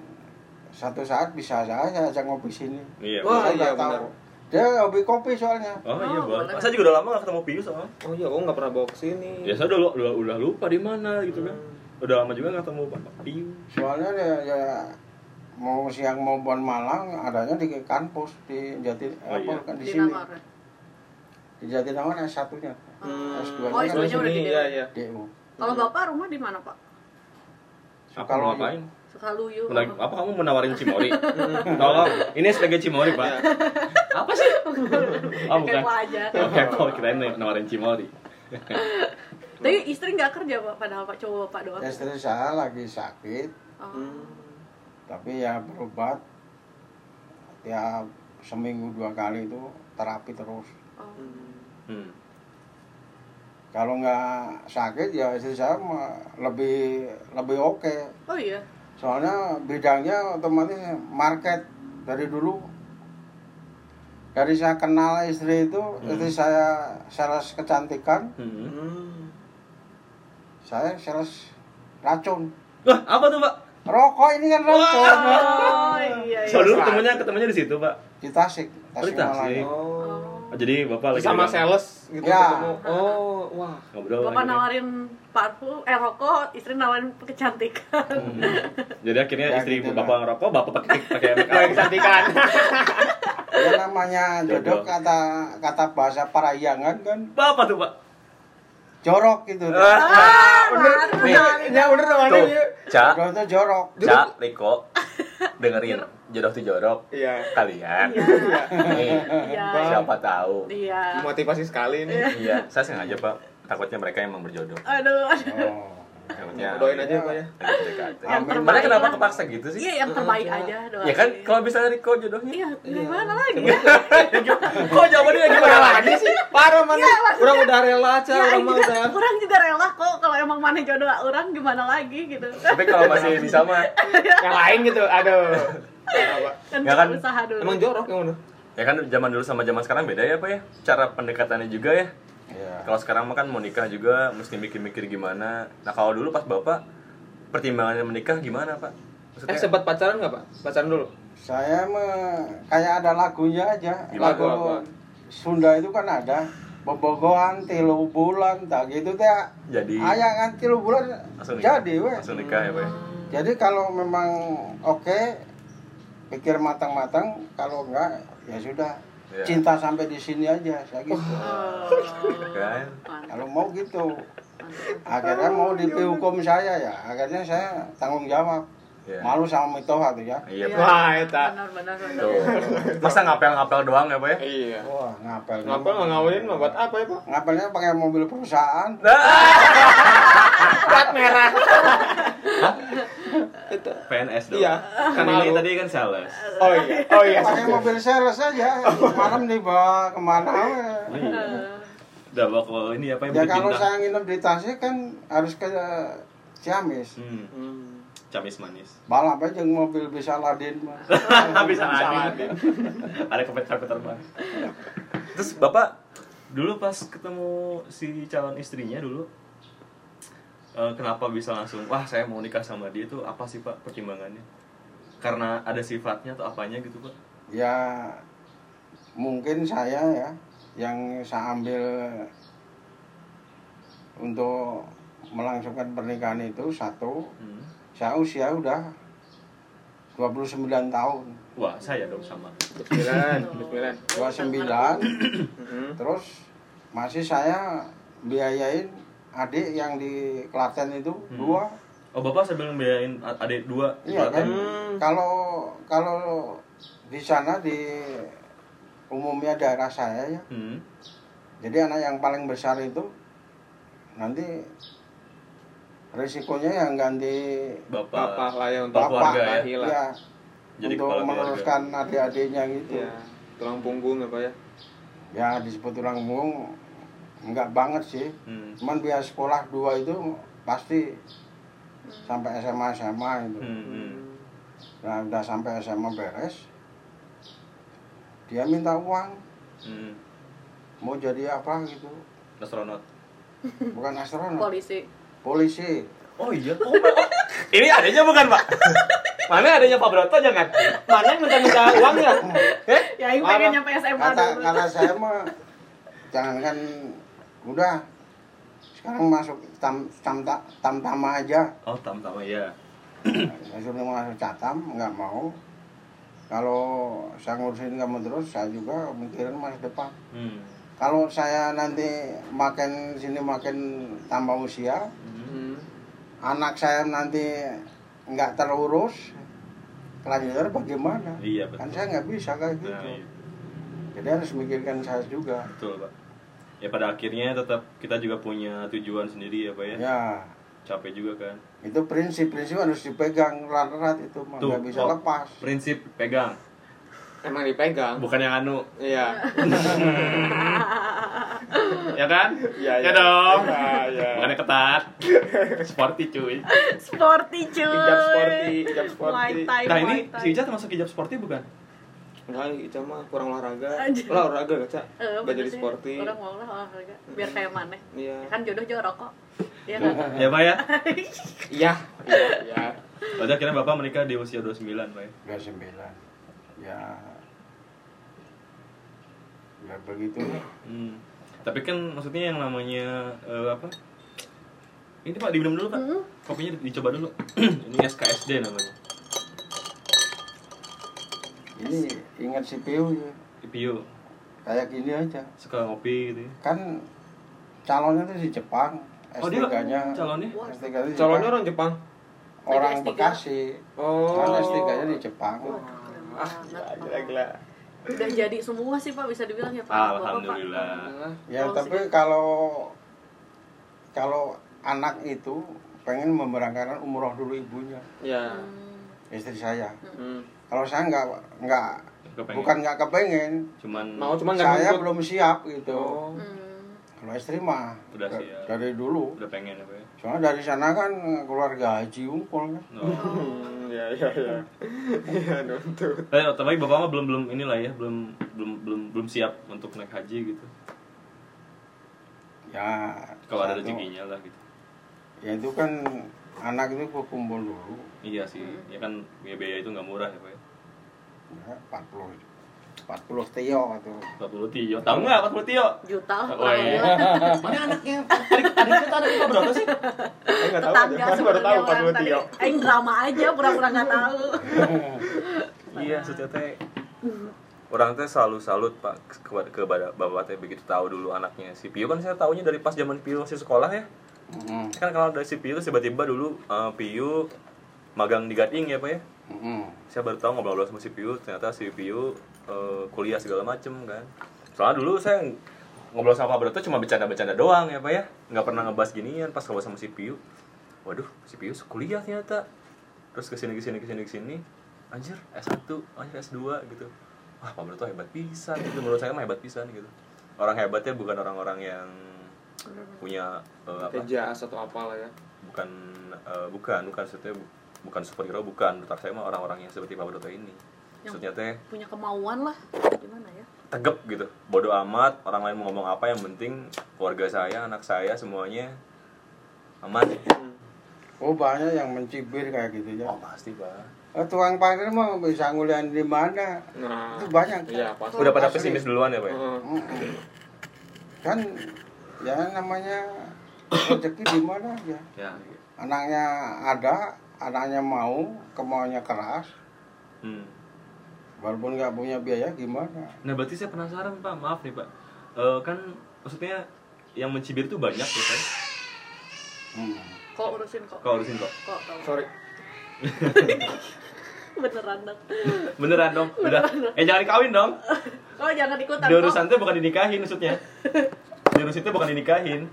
Speaker 5: satu saat bisa saya saya ajak ngopi sini.
Speaker 3: Iya.
Speaker 2: Wah.
Speaker 5: Saya
Speaker 2: iya,
Speaker 5: nggak tahu.
Speaker 2: benar.
Speaker 5: Dia hobi kopi soalnya.
Speaker 3: Oh, iya,
Speaker 4: Oh,
Speaker 3: boleh.
Speaker 4: boleh.
Speaker 3: Saya juga udah lama gak ketemu Pius soalnya.
Speaker 2: Oh iya, oh nggak pernah bawa ke sini.
Speaker 3: Ya, saya udah, udah, udah lupa di mana gitu kan. Udah lama juga gak ketemu Pak Pius.
Speaker 5: Soalnya dia, ya mau siang maupun malam adanya di kampus di Jati
Speaker 3: Oh, iya.
Speaker 5: apa, kan di,
Speaker 4: Di
Speaker 5: sini
Speaker 4: Namor.
Speaker 5: di Jatinangor S1 nya
Speaker 2: Hmm.
Speaker 5: S2
Speaker 4: Oh,
Speaker 5: nya kan
Speaker 4: S2 nya udah
Speaker 2: Sini,
Speaker 4: gede.
Speaker 2: Iya iya.
Speaker 5: DU
Speaker 4: Kalau bapak rumah di mana pak?
Speaker 3: Apa mau
Speaker 5: Kalau-
Speaker 3: ngapain?
Speaker 4: Sukaluyu.
Speaker 3: Menag- apa kamu menawarin Cimori?
Speaker 2: iya.
Speaker 3: Tolong, ini sebagai Cimori, Pak. apa sih? Oh, bukan.
Speaker 4: Kepo aja.
Speaker 3: Oke, kalau kita nawarin Cimori.
Speaker 4: Tapi istri nggak kerja pak, padahal pak cowok pak doang.
Speaker 5: istri saya lagi sakit
Speaker 4: Oh.
Speaker 2: Hmm.
Speaker 5: tapi ya berobat tiap seminggu dua kali itu terapi terus
Speaker 4: Oh.
Speaker 3: Hmm.
Speaker 5: kalau nggak sakit ya istri saya mah lebih lebih oke
Speaker 4: Oh iya.
Speaker 5: soalnya bidangnya otomatis market dari dulu dari saya kenal istri itu istri saya sales kecantikan
Speaker 3: Hmm.
Speaker 2: Hmm.
Speaker 5: saya sales racun
Speaker 3: Wah, apa tuh, Pak?
Speaker 5: rokok ini kan racun
Speaker 4: Oh iya iya.
Speaker 3: So, dulu ketemunya ketemunya di situ, Pak.
Speaker 5: di Tasik
Speaker 3: Oh, di Tasik.
Speaker 5: Malaya.
Speaker 2: Oh.
Speaker 4: Oh.
Speaker 3: Oh, Jadi Bapak lagi
Speaker 2: Sama
Speaker 3: di-
Speaker 2: sales gitu
Speaker 5: Ya.
Speaker 2: ketemu. Oh, wah.
Speaker 3: ngobrol.
Speaker 4: Bapak
Speaker 3: akhirnya.
Speaker 4: nawarin parfum, eh rokok, istri nawarin kecantikan.
Speaker 3: Hmm. Jadi akhirnya
Speaker 5: Ya,
Speaker 3: istri
Speaker 5: gitu,
Speaker 3: Bapak
Speaker 5: Pak.
Speaker 3: ngerokok, Bapak pakai pakai make
Speaker 2: Kayak
Speaker 3: up.
Speaker 2: kecantikan.
Speaker 5: ya namanya
Speaker 3: Jodoh.
Speaker 5: jodoh kata kata bahasa parayangan kan
Speaker 3: Bapak tuh, Pak.
Speaker 5: jorok gitu
Speaker 4: Ah, mantap.
Speaker 2: Ya bener dong
Speaker 3: Tuh,
Speaker 4: Iya.
Speaker 3: Ca,
Speaker 5: jodoh itu jorok
Speaker 3: Ca, Riko, dengerin. Jodoh tuh jorok.
Speaker 2: Iya.
Speaker 3: Kalian.
Speaker 4: Iya.
Speaker 3: Nih,
Speaker 4: Iya.
Speaker 3: siapa tahu.
Speaker 4: Iya.
Speaker 2: Motivasi sekali nih.
Speaker 3: Iya, saya sengaja, Pak. Takutnya mereka emang berjodoh.
Speaker 4: Aduh, aduh.
Speaker 5: oh.
Speaker 3: Takutnya.
Speaker 4: Iya,
Speaker 2: Doain aja Pak ya.
Speaker 3: Lagi PDKT.
Speaker 5: Yang
Speaker 3: Mereka
Speaker 4: terbaik
Speaker 3: kenapa
Speaker 4: lah.
Speaker 3: kepaksa gitu sih?
Speaker 4: Iya, yang terbaik
Speaker 2: Iya.
Speaker 4: aja doang.
Speaker 3: Ya kan, kalau misalnya Riko jodohnya.
Speaker 4: Iya, gimana lagi?
Speaker 3: Kok jawabannya gimana lagi
Speaker 4: Iya.
Speaker 3: sih?
Speaker 2: Parah mana? Orang udah rela aja,
Speaker 4: Ya,
Speaker 2: Iya, orang mah
Speaker 4: juga,
Speaker 2: udah.
Speaker 4: orang juga rela kok kalau emang mana jodoh orang gimana lagi gitu.
Speaker 3: Tapi kalau masih bisa mah,
Speaker 2: Yang lain gitu, aduh. Parah, Pak.
Speaker 4: Kan
Speaker 3: Ya kan?
Speaker 4: usaha dulu.
Speaker 2: Emang jorok yang mana?
Speaker 3: ya kan zaman dulu sama zaman sekarang beda ya pak ya. Cara pendekatannya juga ya.
Speaker 5: Iya.
Speaker 3: Kalau sekarang mah kan mau nikah juga mesti mikir-mikir gimana. Nah kalau dulu pas bapak pertimbangannya menikah gimana pak? Maksudnya,
Speaker 2: Eh sempat pacaran nggak Pak? Pacaran dulu.
Speaker 5: Saya me, kayak ada lagunya aja.
Speaker 3: Gimana
Speaker 5: Lagu
Speaker 2: tuh laguan?
Speaker 5: Sunda itu kan ada bobogohan tilu bulan tak gitu teh.
Speaker 3: Jadi.
Speaker 5: ayangan tilu bulan
Speaker 3: langsung nikah.
Speaker 5: jadi we.
Speaker 3: Langsung nikah ya pak. ya?
Speaker 5: Jadi kalau memang oke pikir matang-matang kalau enggak ya sudah.
Speaker 3: Iya.
Speaker 5: Cinta sampai di sini aja saya gitu.
Speaker 4: Oh.
Speaker 3: Kan?
Speaker 5: Kalau mau gitu. Akhirnya mau dihukum saya ya. Akhirnya saya tanggung jawab.
Speaker 3: Iya.
Speaker 5: Malu sama Mitoha tuh ya.
Speaker 3: Iya. Pak.
Speaker 2: Wah, eta.
Speaker 4: Benar-benar.
Speaker 3: Tuh. Masa ngapel-ngapel doang ya pak ya?
Speaker 2: Iya.
Speaker 5: Wah, ngapel.
Speaker 2: Ngapel mau ngawinin mah buat apa ya Pak?
Speaker 5: Ngapelnya pakai mobil perusahaan.
Speaker 2: Plat merah. Itu.
Speaker 3: PNS dong.
Speaker 2: Iya.
Speaker 3: Kan ini
Speaker 2: Malu.
Speaker 3: tadi kan sales.
Speaker 2: Oh iya. Oh iya.
Speaker 5: Ya, pakai mobil sales aja malam dibawa kemana we.
Speaker 3: Udah bawa ke ini apa yang Iya,
Speaker 5: Iya. ya
Speaker 3: bikin
Speaker 5: kalau
Speaker 3: bintang?
Speaker 5: saya nginep di Tasik kan harus ke Ciamis
Speaker 3: Hmm,
Speaker 2: Hmm.
Speaker 3: camis manis.
Speaker 5: balap aja jeung mobil bisa ladin mah
Speaker 3: bisa Aladin. Ada komputer terbang. Terus Bapak dulu pas ketemu si calon istrinya dulu eh, kenapa bisa langsung wah saya mau nikah sama dia itu apa sih Pak pertimbangannya? Karena ada sifatnya atau apanya gitu Pak?
Speaker 5: ya mungkin saya ya yang saya ambil untuk melangsungkan pernikahan itu satu
Speaker 3: Hmm.
Speaker 5: saya usia udah 29 tahun
Speaker 3: Wah, saya dong sama.
Speaker 2: Bismilan, bismilan.
Speaker 5: 29
Speaker 2: Mm-mm.
Speaker 5: Terus masih saya biayain adik yang di Klaten itu dua.
Speaker 3: Oh, Bapak sambil ngebiayain a- adik dua
Speaker 5: Hmm. Iya kan?
Speaker 3: berarti.
Speaker 5: Kalau kalau di sana di umumnya daerah saya ya.
Speaker 3: Hmm.
Speaker 5: Jadi anak yang paling besar itu nanti risikonya yang ganti
Speaker 3: Bapak.
Speaker 2: Papa lah ya untuk
Speaker 3: Bapak keluarga
Speaker 5: bapak,
Speaker 3: ya.
Speaker 2: laki lah.
Speaker 5: ya,
Speaker 3: Jadi
Speaker 5: untuk
Speaker 3: kepala keluarga.
Speaker 5: meneruskan adik-adiknya gitu.
Speaker 2: Iya. Tulang punggung apa ya?
Speaker 5: Ya disebut tulang punggung enggak banget sih.
Speaker 3: Hmm.
Speaker 5: cuman biaya sekolah dua itu pasti sampai SMA SMA itu
Speaker 3: Hmm, hmm.
Speaker 5: gitu. nah udah sampai SMA beres dia minta uang
Speaker 3: Hmm.
Speaker 5: mau jadi apa gitu
Speaker 3: Astronot.
Speaker 5: bukan astronot
Speaker 4: Polisi.
Speaker 5: polisi
Speaker 3: Oh iya, oh, Pak. ini adanya bukan Pak? Mana adanya Pak Broto jangan?
Speaker 2: Mana yang minta-minta uangnya? Eh?
Speaker 4: Ya, yang pengen
Speaker 5: Parah.
Speaker 4: nyampe SMA
Speaker 5: kata
Speaker 4: dulu.
Speaker 5: kata saya mah jangankan udah sekarang masuk tam tam tam, tam tama aja
Speaker 3: Oh, tam-tam ya.
Speaker 5: saya suruh masuk catam nggak mau kalau saya ngurusin kamu terus saya juga mikirin masa depan
Speaker 3: Hmm.
Speaker 5: Kalau saya nanti makin sini makin tambah usia,
Speaker 2: Hmm.
Speaker 5: anak saya nanti nggak terurus, kelanjutannya bagaimana?
Speaker 3: Iya
Speaker 5: Kan
Speaker 3: betul.
Speaker 5: saya nggak bisa kayak gitu.
Speaker 3: Nah, iya.
Speaker 5: Jadi harus mikirkan saya juga.
Speaker 3: betul Pak. Ya pada akhirnya tetap kita juga punya tujuan sendiri ya Pak ya.
Speaker 5: Ya,
Speaker 3: Capek juga kan.
Speaker 5: itu prinsip-prinsip harus dipegang erat-erat itu, mah. nggak bisa
Speaker 3: Pak.
Speaker 5: lepas.
Speaker 3: oh, Prinsip pegang,
Speaker 2: Emang dipegang.
Speaker 3: bukan yang anu.
Speaker 2: Iya.
Speaker 3: ya kan?
Speaker 2: Iya,
Speaker 3: ya,
Speaker 2: iya.
Speaker 3: dong.
Speaker 2: Iya, iya.
Speaker 3: Makanya ketat. Sporty cuy.
Speaker 4: Sporty cuy.
Speaker 2: Hijab sporty, hijab sporty.
Speaker 4: Muay Thai,
Speaker 3: Nah
Speaker 4: Muay
Speaker 3: ini
Speaker 4: Thai.
Speaker 3: si Ica termasuk hijab sporty bukan?
Speaker 2: Enggak, Ica mah kurang olahraga.
Speaker 4: Anjir.
Speaker 2: Lah olahraga gak, Cak?
Speaker 4: Eh,
Speaker 2: Gak
Speaker 4: bener
Speaker 2: jadi
Speaker 4: sih.
Speaker 2: sporty.
Speaker 4: Orang mau lah olahraga. Biar kayak maneh.
Speaker 2: Iya.
Speaker 4: Ya kan jodoh jorok kok. Iya kan?
Speaker 3: Ya Pak ya?
Speaker 2: Iya, iya, iya.
Speaker 3: Berarti akhirnya Bapak menikah di usia 29 Pak ya?
Speaker 5: Udah sembilan. Ya. Ya begitu.
Speaker 3: Hmm. Tapi kan maksudnya yang namanya eh, apa? Ini Pak diminum dulu Pak.
Speaker 4: Hmm.
Speaker 3: Kopinya di- dicoba dulu. ini SKSD namanya.
Speaker 5: Ini ingat si Piu ya.
Speaker 3: IPU
Speaker 5: Kayak gini aja.
Speaker 3: suka ngopi gitu. ya.
Speaker 5: Kan calonnya tuh di Jepang.
Speaker 3: Oh dia
Speaker 5: S3-nya.
Speaker 3: calonnya?
Speaker 5: S3-nya di
Speaker 2: Calonnya orang
Speaker 5: Jepang.
Speaker 2: Jepang.
Speaker 5: orang
Speaker 4: S3.
Speaker 5: Bekasi.
Speaker 2: Oh.
Speaker 5: Kan S3-nya di Jepang.
Speaker 4: Oh.
Speaker 2: Ah, gila, gila, gila.
Speaker 4: Udah jadi semua sih Pak bisa dibilang ya Pak. Bapak, Pak.
Speaker 3: Alhamdulillah.
Speaker 2: Nah,
Speaker 5: Ya,
Speaker 4: Kalau
Speaker 5: tapi
Speaker 4: segi-
Speaker 5: kalau kalau anak itu pengen memberangkatkan umroh dulu ibunya,
Speaker 2: Ya.
Speaker 4: Hmm.
Speaker 5: istri saya.
Speaker 2: Hmm.
Speaker 5: Kalau saya nggak nggak
Speaker 3: Kepengen.
Speaker 5: bukan nggak kepengen,
Speaker 3: Cuman
Speaker 2: Hmm. Mau cuman nggak
Speaker 5: saya
Speaker 2: nuntut.
Speaker 5: belum siap gitu.
Speaker 2: Oh.
Speaker 4: Hmm.
Speaker 5: Kalau istri mah
Speaker 3: Udah
Speaker 5: da-
Speaker 3: siap.
Speaker 5: dari dulu.
Speaker 3: udah pengen ya Pak ya.
Speaker 5: Soalnya dari sana kan keluarga haji unggul kan.
Speaker 3: No.
Speaker 4: Oh.
Speaker 2: Hmm, ya, ya, ya.
Speaker 4: Hmm.
Speaker 2: Iya, nuntut.
Speaker 3: Eh, tapi bapak mah belum belum inilah ya, belum belum belum belum siap untuk naik haji gitu.
Speaker 5: Ya.
Speaker 3: Kalau ada
Speaker 5: satu-
Speaker 3: rezekinya lah gitu.
Speaker 5: Ya itu kan anak itu gua kumpul dulu.
Speaker 3: Iya sih,
Speaker 4: Hmm.
Speaker 3: ya kan biaya, biaya itu nggak murah ya pak ya.
Speaker 5: Ya, 40 40 tio itu.
Speaker 3: 40 tio, tahu nggak 40 tio?
Speaker 4: Juta lah. kan
Speaker 3: Oh, iya. Mana anaknya? Adik adik kita ada berapa berapa sih?
Speaker 2: Saya nggak tahu.
Speaker 4: Tetangga
Speaker 2: Saya baru tahu pas
Speaker 4: sebenarnya orang
Speaker 2: gue
Speaker 4: tadi.
Speaker 2: Tio.
Speaker 4: Aing drama aja pura-pura nggak tahu.
Speaker 3: Iya, maksudnya teh Orang teh selalu salut pak kepada ke bada- bapak teh begitu tahu dulu anaknya si Pio kan saya tahunya dari pas zaman Pio masih sekolah ya
Speaker 5: Heeh.
Speaker 3: Saya kan kenal dari si Pio terus tiba-tiba dulu eh, Pio magang di Gading ya pak ya
Speaker 5: Heeh.
Speaker 3: saya baru tahu ngobrol-ngobrol sama si Piu ternyata si Piu eh, kuliah segala macem kan soalnya dulu saya ngobrol sama Pak Broto cuma bercanda-bercanda doang ya Pak ya nggak pernah ngebahas ginian pas ngobrol sama si Piu waduh si Piu kuliah ternyata terus kesini kesini kesini kesini anjir S1 anjir S2 gitu wah Pak Broto hebat pisan gitu menurut saya mah hebat pisan gitu orang hebatnya bukan orang-orang yang punya eh, apa
Speaker 2: Tejas atau apalah ya.
Speaker 3: bukan eh, bukan bukan maksudnya bu- bukan superhero bukan menurut saya mah orang-orang yang seperti Pak Broto ini
Speaker 4: Yang-
Speaker 3: maksudnya teh
Speaker 4: Punya kemauan lah. Gimana ya?
Speaker 3: tegep gitu bodoh amat orang lain mau ngomong apa yang penting keluarga saya anak saya semuanya aman
Speaker 5: Oh banyak yang mencibir kayak gitu ya.
Speaker 3: oh pasti pak
Speaker 5: Eh, Tukang parkir mah bisa ngulian di mana?
Speaker 2: Nah.
Speaker 5: Itu banyak.
Speaker 2: Iya, pas.
Speaker 3: udah pada
Speaker 5: Asli.
Speaker 3: pesimis duluan ya pak ya?
Speaker 2: Heeh.
Speaker 5: Mm-mm. Kan ya namanya rezeki di mana aja.
Speaker 3: ya
Speaker 5: Anaknya ada, anaknya mau, kemauannya keras,
Speaker 3: hmm.
Speaker 5: walaupun nggak punya biaya gimana?
Speaker 3: nah berarti saya penasaran pak maaf nih pak Eh, kan maksudnya yang mencibir itu banyak ya kan
Speaker 5: Hmm.
Speaker 4: Kok urusin kok?
Speaker 3: kau urusin kok
Speaker 4: Kok? kok?
Speaker 2: Sorry.
Speaker 4: Beneran dong.
Speaker 3: beneran dong udah eh jangan dikawin dong
Speaker 4: Kok Oh, jangan ikutan kok.
Speaker 3: diurusan tuh bukan dinikahin maksudnya diurusin tuh bukan dinikahin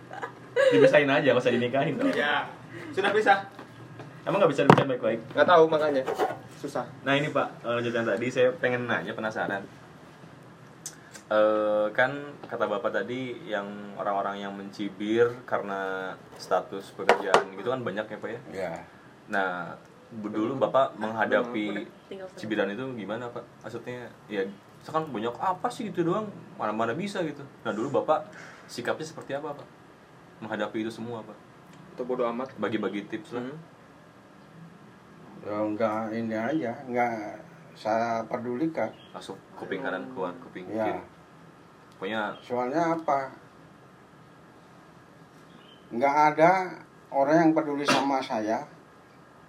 Speaker 3: dibisain aja nggak usah dinikahin dong
Speaker 2: Ya. Sudah bisa.
Speaker 3: emang nggak bisa dibisain baik-baik
Speaker 2: Nggak tahu makanya. Susah.
Speaker 3: Nah ini Pak, eh, lanjut yang tadi saya pengen nanya penasaran. Eh, kan kata Bapak tadi yang orang-orang yang mencibir karena status pekerjaan gitu kan banyak ya Pak ya.
Speaker 5: Ya.
Speaker 3: Nah bu- dulu Bapak menghadapi
Speaker 4: Tinggal satu.
Speaker 3: cibiran itu gimana Pak? Maksudnya ya sekarang banyak apa sih gitu doang mana-mana bisa gitu. Nah dulu Bapak sikapnya seperti apa Pak? Menghadapi itu semua Pak?
Speaker 2: Itu bodoh amat.
Speaker 3: Bagi-bagi tips lah.
Speaker 2: Hmm.
Speaker 5: Ya enggak ini aja, enggak saya pedulikan.
Speaker 3: Masuk kuping kanan keluar kuping
Speaker 5: Ya.
Speaker 3: kiri. Pokoknya
Speaker 5: Soalnya apa? Nggak ada orang yang peduli sama saya.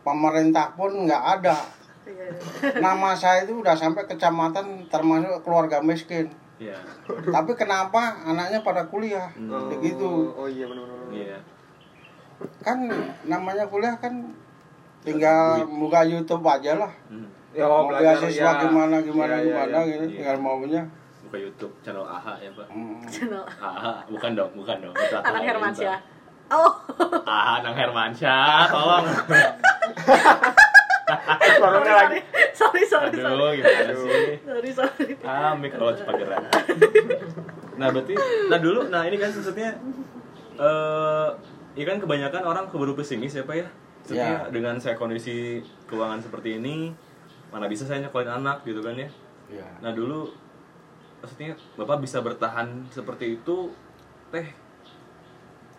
Speaker 5: Pemerintah pun nggak ada.
Speaker 4: Iya, iya.
Speaker 5: Nama saya itu udah sampai kecamatan termasuk keluarga miskin.
Speaker 3: ya.
Speaker 5: Tapi kenapa anaknya pada kuliah?
Speaker 3: Hmm.
Speaker 5: Begitu.
Speaker 2: Oh, iya benar-benar.
Speaker 3: Iya.
Speaker 5: Kan namanya kuliah kan tinggal buka YouTube aja lah.
Speaker 3: Hmm.
Speaker 2: Ya,
Speaker 5: Mau
Speaker 2: belajar
Speaker 5: beasiswa
Speaker 2: ya.
Speaker 5: gimana gimana
Speaker 2: Iya, iya,
Speaker 5: gimana
Speaker 2: iya.
Speaker 5: gitu
Speaker 3: Iya.
Speaker 5: tinggal maunya.
Speaker 3: buka YouTube channel AHA ya Pak.
Speaker 5: Hmm.
Speaker 4: Channel
Speaker 3: AHA bukan dong, bukan dong. Itu
Speaker 4: Anang
Speaker 3: lain,
Speaker 4: Hermansyah.
Speaker 3: Pak.
Speaker 4: Oh,
Speaker 3: AHA Anang Hermansyah, tolong.
Speaker 2: Ekspornya lagi.
Speaker 4: sorry sorry sorry
Speaker 3: Aduh, gimana sih?
Speaker 4: sorry sorry
Speaker 3: Ah, kalau cepat gerak. nah, berarti nah dulu nah ini kan maksudnya eh ya kan kebanyakan orang keburu pesimis ya, Pak ya. Maksudnya
Speaker 5: Ya.
Speaker 3: dengan saya kondisi keuangan seperti ini, mana bisa saya nyekolin anak gitu kan ya.
Speaker 5: Iya.
Speaker 3: Nah, dulu maksudnya Bapak bisa bertahan seperti itu teh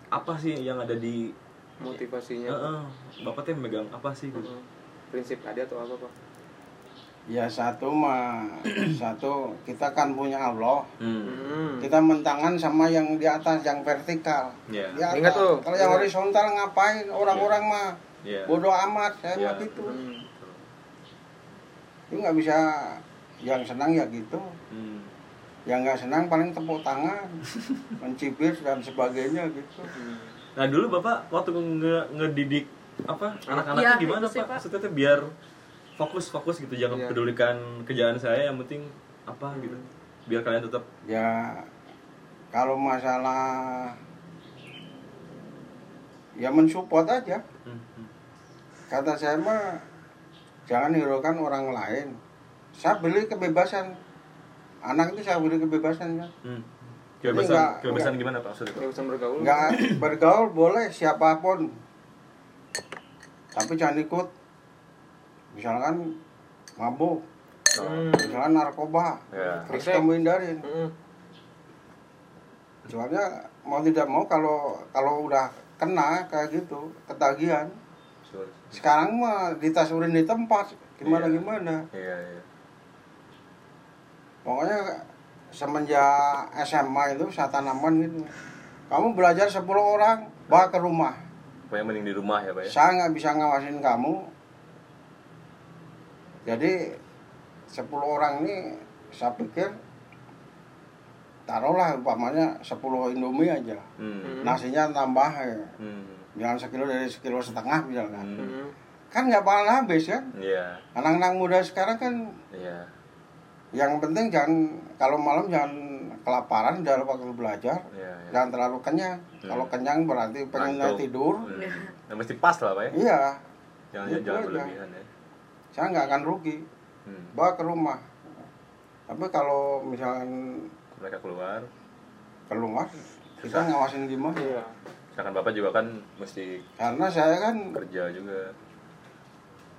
Speaker 3: apa sih yang ada di
Speaker 2: Motivasinya.
Speaker 3: Eh, eh, Bapak teh megang apa sih gitu?
Speaker 2: Heeh. Prinsip tadi atau apa, Pak?
Speaker 5: Ya satu mah satu kita kan punya Allah.
Speaker 3: Hmm.
Speaker 2: Hmm.
Speaker 5: Kita mentangan sama yang di atas yang vertikal.
Speaker 3: Ya.
Speaker 5: Di atas.
Speaker 2: Ingat tuh.
Speaker 5: Kalau yang
Speaker 2: Ingat.
Speaker 5: horizontal ngapain
Speaker 2: Iya.
Speaker 5: orang-orang mah
Speaker 3: Ya.
Speaker 5: bodoh amat saya mah
Speaker 3: Iya.
Speaker 5: gitu.
Speaker 2: Hmm.
Speaker 5: Itu nggak bisa yang senang ya gitu.
Speaker 3: Hmm.
Speaker 5: Yang Ya, nggak senang paling tepuk tangan, mencibir dan sebagainya gitu.
Speaker 2: Hmm.
Speaker 3: Nah dulu bapak waktu nge- ngedidik apa anak-anaknya
Speaker 4: Iya,
Speaker 3: gimana
Speaker 4: itu sih,
Speaker 3: pak?
Speaker 4: Pak.
Speaker 3: Maksudnya tuh biar fokus fokus gitu jangan
Speaker 2: Iya.
Speaker 3: pedulikan kerjaan saya yang penting apa gitu biar kalian tetap
Speaker 5: Ya kalau masalah ya mensupport aja.
Speaker 3: hmm, hmm.
Speaker 5: Kata saya mah jangan hiraukan orang lain. Saya beli kebebasan. Anak itu saya beli kebebasan ya.
Speaker 3: hmm.
Speaker 5: Jadi
Speaker 3: kebebasan
Speaker 5: nggak-
Speaker 3: kebebasan
Speaker 5: nggak- Iya.
Speaker 3: gimana pak? Maksudnya Pak?
Speaker 2: Ini urusan bergaul.
Speaker 5: Nggak bergaul boleh siapapun. Tapi jangan ikut. Misalkan mabuk,
Speaker 2: Hmm.
Speaker 5: misalkan narkoba,
Speaker 3: Ya.
Speaker 5: harus kamu hindarin.
Speaker 2: Hmm.
Speaker 5: Soalnya mau tidak mau kalau kalau udah kena kayak gitu ketagihan.
Speaker 3: Sure.
Speaker 5: Sekarang mah ditasurin di tempat gimana gimana.
Speaker 3: Iya iya.
Speaker 5: Pokoknya semenjak SMA itu saya tanaman gitu. Kamu belajar 10 orang, bawa ke rumah.
Speaker 3: Pokoknya mending di rumah ya pak ya.
Speaker 5: Saya nggak bisa ngawasin kamu. Jadi 10 orang ini saya pikir taruhlah umpamanya 10 Indomie aja.
Speaker 3: Hmm.
Speaker 5: Nasinya tambah ya.
Speaker 3: Hmm.
Speaker 5: Jangan sekilo dari sekilo setengah misalkan.
Speaker 3: Hmm.
Speaker 2: Hmm.
Speaker 5: Kan nggak bakal habis kan.
Speaker 3: Iya
Speaker 5: Anak-anak muda sekarang kan
Speaker 3: iya.
Speaker 5: yang penting jangan kalau malam jangan kelaparan dalam waktu belajar.
Speaker 3: Iya. iya.
Speaker 5: Jangan terlalu kenyang.
Speaker 3: Hmm.
Speaker 5: Kalau kenyang berarti pengennya
Speaker 3: Ngantuk.
Speaker 5: tidur.
Speaker 3: Hmm.
Speaker 4: Iya.
Speaker 3: Nah, mesti pas lah pak ya.
Speaker 5: Iya,
Speaker 3: Jangan
Speaker 5: Gitu
Speaker 3: jangan
Speaker 5: aja.
Speaker 3: berlebihan ya.
Speaker 5: saya nggak akan rugi.
Speaker 3: Hmm.
Speaker 5: Bawa ke rumah. Tapi kalau misalkan
Speaker 3: Mereka keluar.
Speaker 5: keluar, kita
Speaker 3: Susah.
Speaker 5: ngawasin gimana?
Speaker 2: Iya.
Speaker 3: Sedangkan bapak juga kan mesti
Speaker 5: Karena saya kan
Speaker 3: kerja juga.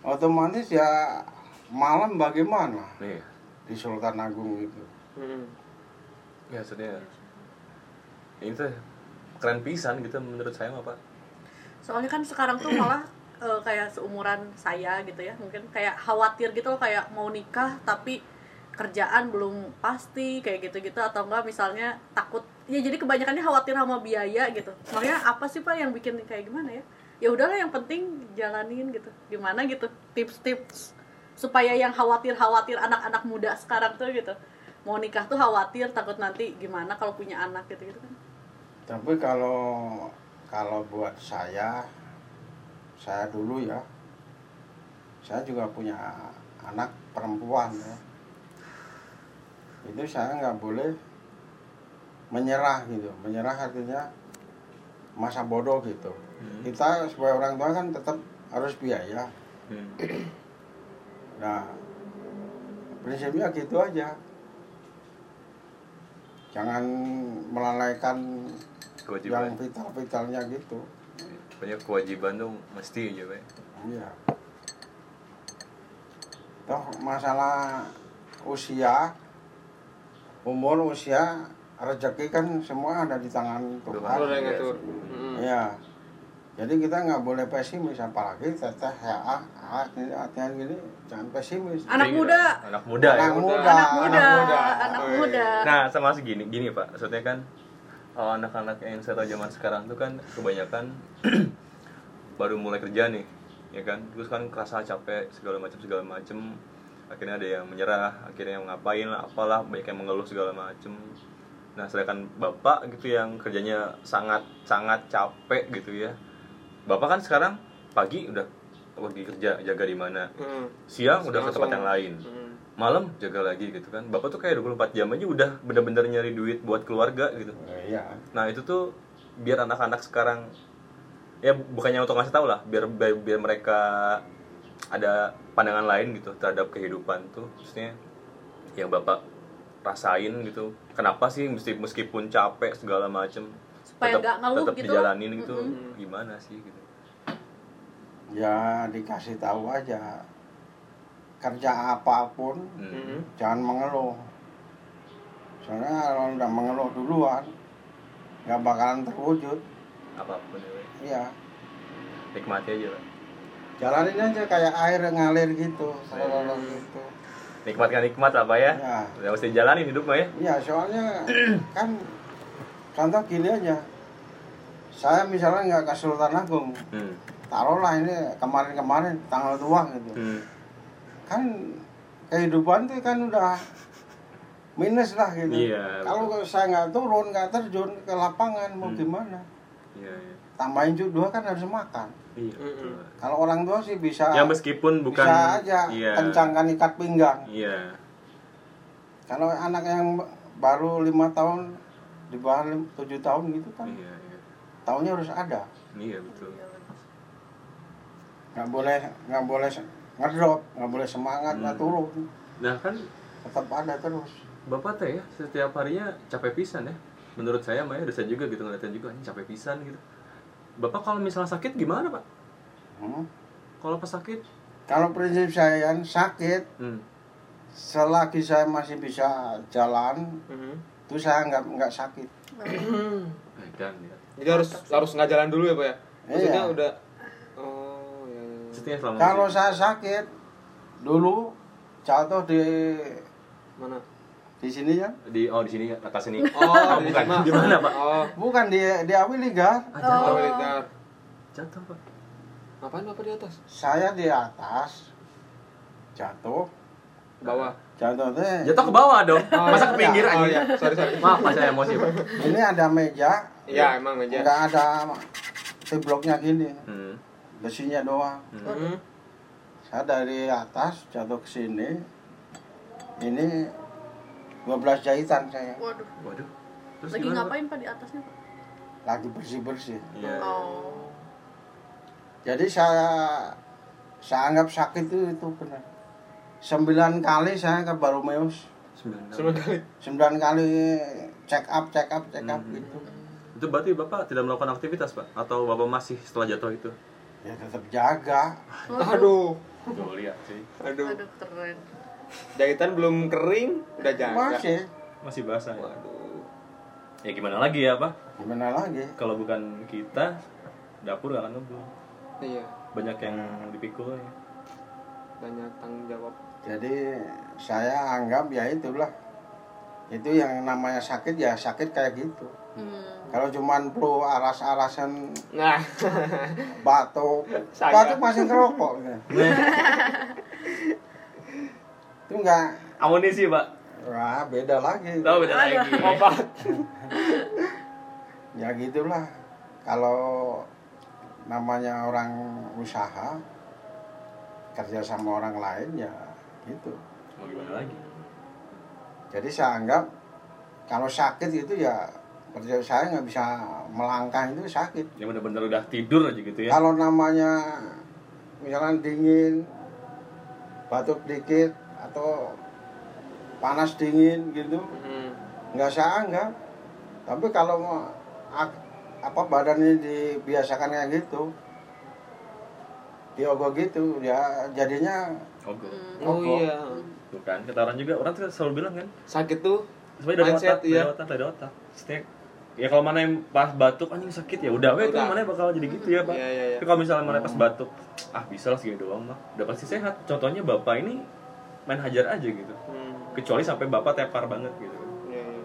Speaker 5: otomatis ya malam bagaimana
Speaker 3: Nih.
Speaker 5: di Sultan Agung gitu.
Speaker 2: Hmm.
Speaker 3: Ya maksudnya ini tuh keren pisan gitu menurut saya mah pak.
Speaker 4: soalnya kan sekarang tuh malah eh, kayak seumuran saya gitu ya mungkin kayak khawatir gitu loh, kayak mau nikah tapi kerjaan belum pasti kayak gitu-gitu atau enggak misalnya takut ya jadi kebanyakannya khawatir sama biaya gitu makanya apa sih pak yang bikin kayak gimana ya ya udahlah yang penting jalanin gitu gimana gitu tips-tips supaya yang khawatir-khawatir anak-anak muda sekarang tuh gitu mau nikah tuh khawatir takut nanti gimana kalau punya anak gitu gitu kan
Speaker 5: Tapi kalau kalau buat saya, saya dulu ya, saya juga punya anak perempuan ya. Itu saya nggak boleh menyerah gitu, menyerah artinya masa bodoh gitu.
Speaker 3: Hmm.
Speaker 5: Kita sebagai orang tua kan tetap harus biaya.
Speaker 3: Hmm.
Speaker 5: Nah, prinsipnya gitu aja. Jangan melalaikan yang
Speaker 3: Kewajiban.
Speaker 5: vital-vitalnya gitu
Speaker 3: Banyak kewajiban tuh mesti aja pak.
Speaker 5: iya toh masalah usia umur usia rezeki kan semua ada di tangan
Speaker 2: Lu udah
Speaker 5: Tuhan
Speaker 3: Tuhan.
Speaker 2: ngatur. Hmm.
Speaker 5: iya jadi kita nggak boleh pesimis apalagi teteh ya ah, ah, ini latihan gini jangan pesimis
Speaker 4: anak
Speaker 3: Jadi,
Speaker 4: muda
Speaker 3: Anak muda ya.
Speaker 5: anak muda
Speaker 4: anak muda
Speaker 5: anak muda.
Speaker 4: anak muda
Speaker 3: Nah sama segini gini pak. Maksudnya kan eh, anak-anak yang saya tahu zaman sekarang tuh kan kebanyakan baru mulai kerja nih ya kan terus kan kerasa capek segala macam segala macam akhirnya ada yang menyerah akhirnya yang ngapain lah apalah banyak yang mengeluh segala macam nah sedangkan bapak gitu yang kerjanya sangat sangat capek gitu ya bapak kan sekarang pagi udah pergi kerja jaga di mana
Speaker 2: Hmm.
Speaker 3: siang udah ke tempat
Speaker 2: Langsung.
Speaker 3: yang lain
Speaker 2: Hmm.
Speaker 3: malam jaga lagi gitu kan bapak tuh kayak 24 jam aja udah bener-bener nyari duit buat keluarga gitu
Speaker 5: iya
Speaker 3: nah itu tuh biar anak-anak sekarang ya bukannya untuk ngasih tahu lah biar biar, biar mereka ada pandangan lain gitu terhadap kehidupan tuh maksudnya yang bapak rasain gitu kenapa sih mesti meskipun capek segala macem
Speaker 4: Supaya nggak ngeluh
Speaker 3: tetap
Speaker 4: gitu.
Speaker 3: dijalanin gitu
Speaker 4: Mm-mm.
Speaker 3: gimana sih gitu
Speaker 5: ya dikasih tahu aja kerja apapun
Speaker 3: Hmm.
Speaker 2: Mm-mm.
Speaker 5: jangan mengeluh soalnya kalau udah mengeluh duluan nggak bakalan terwujud
Speaker 3: apapun ya, weh.
Speaker 5: ya
Speaker 3: nikmati aja lah
Speaker 5: jalanin aja kayak air yang ngalir gitu
Speaker 3: Iya.
Speaker 5: selalu gitu
Speaker 3: nikmatkan nikmat lah pak ya
Speaker 5: ya
Speaker 3: udah mesti jalanin hidup mah ya
Speaker 5: ya soalnya kan contoh gini aja saya misalnya nggak ke Sultan Agung
Speaker 3: hmm.
Speaker 5: taruhlah ini kemarin-kemarin tanggal tua gitu
Speaker 3: Hmm.
Speaker 5: kan kehidupan tuh kan udah minus lah gitu.
Speaker 3: Iya,
Speaker 5: Kalau saya nggak turun, nggak terjun ke lapangan mau
Speaker 3: Hmm.
Speaker 5: gimana?
Speaker 3: Iya, iya.
Speaker 5: Tambahin juga kan harus makan.
Speaker 3: Iya,
Speaker 2: Mm-mm.
Speaker 3: betul.
Speaker 5: Kalau orang tua sih bisa
Speaker 3: ya meskipun bukan
Speaker 5: Ah, bisa aja kan?
Speaker 3: iya
Speaker 5: kencangkan ikat pinggang.
Speaker 3: iya
Speaker 5: Kalau anak yang baru lima tahun di bawah lim- tujuh tahun gitu kan,
Speaker 3: iya iya
Speaker 5: tahunnya harus ada.
Speaker 3: iya betul
Speaker 5: Nggak boleh nggak boleh se- ngedrop, nggak boleh semangat nggak
Speaker 3: Hmm.
Speaker 5: turun,
Speaker 3: nah kan
Speaker 5: tetap ada terus.
Speaker 3: Bapak teh ya, setiap harinya capek pisan ya. Menurut saya Maya dosen juga gitu ngeliatin juga ini capek pisan gitu. Bapak kalau misalnya sakit gimana, Pak?
Speaker 5: Hmm.
Speaker 3: Kalau pas sakit?
Speaker 5: Kalau prinsip saya kan sakit
Speaker 3: Hmm.
Speaker 5: selagi saya masih bisa jalan
Speaker 2: Mm-mm.
Speaker 5: itu saya nggak nggak sakit
Speaker 3: Edan ya.
Speaker 2: Jadi harus harus nggak jalan dulu ya pak ya? Maksudnya
Speaker 5: Iya.
Speaker 2: udah. Oh ya. ya.
Speaker 3: Maksudnya selama
Speaker 5: kalau
Speaker 3: masih-
Speaker 5: saya sakit dulu jatuh di
Speaker 2: Mana?
Speaker 5: di sini ya
Speaker 3: di oh di sini atas sini.
Speaker 2: Oh,
Speaker 3: bukan.
Speaker 2: Lima.
Speaker 3: Di mana, Pak?
Speaker 2: Oh,
Speaker 5: bukan di di Awiliga
Speaker 3: Ah,
Speaker 2: oh.
Speaker 3: jatuh.
Speaker 4: Oh.
Speaker 2: militer.
Speaker 3: Jatuh, Pak.
Speaker 2: Ngapain bapak di atas?
Speaker 5: saya di atas jatuh
Speaker 2: Bawah.
Speaker 5: jatuh teh
Speaker 3: Jatuh ke bawah dong.
Speaker 2: Oh,
Speaker 3: Masa
Speaker 2: iya.
Speaker 3: ke pinggir
Speaker 2: Oh,
Speaker 3: aja.
Speaker 2: iya. Sorry sorry.
Speaker 3: Maaf, Pak, saya emosi, Pak.
Speaker 5: ini ada meja
Speaker 2: Iya emang meja.
Speaker 5: nggak ada tebloknya gini
Speaker 3: Hmm.
Speaker 5: besinya doang
Speaker 3: Oh.
Speaker 2: Mm-mm.
Speaker 5: saya dari atas jatuh ke sini ini 12 jahitan saya
Speaker 4: Waduh,
Speaker 3: Waduh. Terus
Speaker 4: lagi
Speaker 3: gimana, Pak?
Speaker 4: ngapain Pak di atasnya Pak?
Speaker 5: lagi bersih bersih
Speaker 3: Iya.
Speaker 4: Oh.
Speaker 5: Jadi saya saya anggap sakit itu itu benar. Sembilan kali saya ke Baromeus,
Speaker 3: Sembilan tahun.
Speaker 2: Sembilan kali.
Speaker 5: sembilan kali check up, check up, check up gitu.
Speaker 3: Itu berarti Bapak tidak melakukan aktivitas, Pak? Atau Bapak masih setelah jatuh itu?
Speaker 5: Ya tetap jaga.
Speaker 2: Aduh.
Speaker 3: Tuh, lihat sih.
Speaker 2: Aduh.
Speaker 4: Aduh, keren.
Speaker 2: Jahitan belum kering, udah jaga.
Speaker 5: Masih
Speaker 3: Masih basah ya.
Speaker 2: Waduh.
Speaker 3: Ya gimana lagi ya, Pak?
Speaker 5: gimana lagi?
Speaker 3: kalau bukan kita dapur gak akan ngebul
Speaker 2: Iya.
Speaker 3: banyak yang dipikul ya
Speaker 2: Banyak tanggung jawab.
Speaker 5: Jadi saya anggap ya itulah itu yang namanya sakit ya sakit kayak gitu.
Speaker 4: Hmm.
Speaker 5: Kalau cuman perlu aras-arasan
Speaker 2: Nah.
Speaker 5: batuk,
Speaker 2: Saya.
Speaker 5: batuk masih ngerokok. itu enggak,
Speaker 3: amunisi pak
Speaker 5: wah beda lagi.
Speaker 3: tahu beda lagi
Speaker 2: Obat.
Speaker 5: ya gitulah kalau namanya orang usaha kerja sama orang lain ya gitu
Speaker 3: mau gimana lagi
Speaker 5: jadi saya anggap kalau sakit itu ya kerja saya nggak bisa melangkah itu sakit
Speaker 3: ya bener-bener udah tidur aja gitu ya
Speaker 5: kalau namanya misalnya dingin batuk dikit atau panas dingin gitu
Speaker 3: Hmm.
Speaker 2: Mm.
Speaker 5: nggak saya anggap tapi kalau mau ak- apa badannya dibiasakan kayak gitu diogoh gitu ya jadinya
Speaker 3: oke
Speaker 4: hmm.
Speaker 2: Oh
Speaker 5: Opo.
Speaker 2: iya.
Speaker 3: bukan kata orang kan, juga orang tuh selalu bilang kan
Speaker 2: Sakit tuh.
Speaker 3: sebenarnya dari
Speaker 2: Mindset,
Speaker 3: otak
Speaker 2: iya.
Speaker 3: dari otak dari otak Maksudnya, ya kalau mana yang pas batuk anjing sakit ya udah weh itu
Speaker 2: Udah.
Speaker 3: mana yang bakal jadi gitu ya pak
Speaker 2: Iya, iya, iya.
Speaker 3: tapi kalau misalnya mana pas batuk ah bisa lah segini doang mah udah pasti sehat contohnya bapak ini main hajar aja gitu
Speaker 2: Hmm.
Speaker 3: kecuali sampai bapak tepar banget gitu
Speaker 2: Iya iya.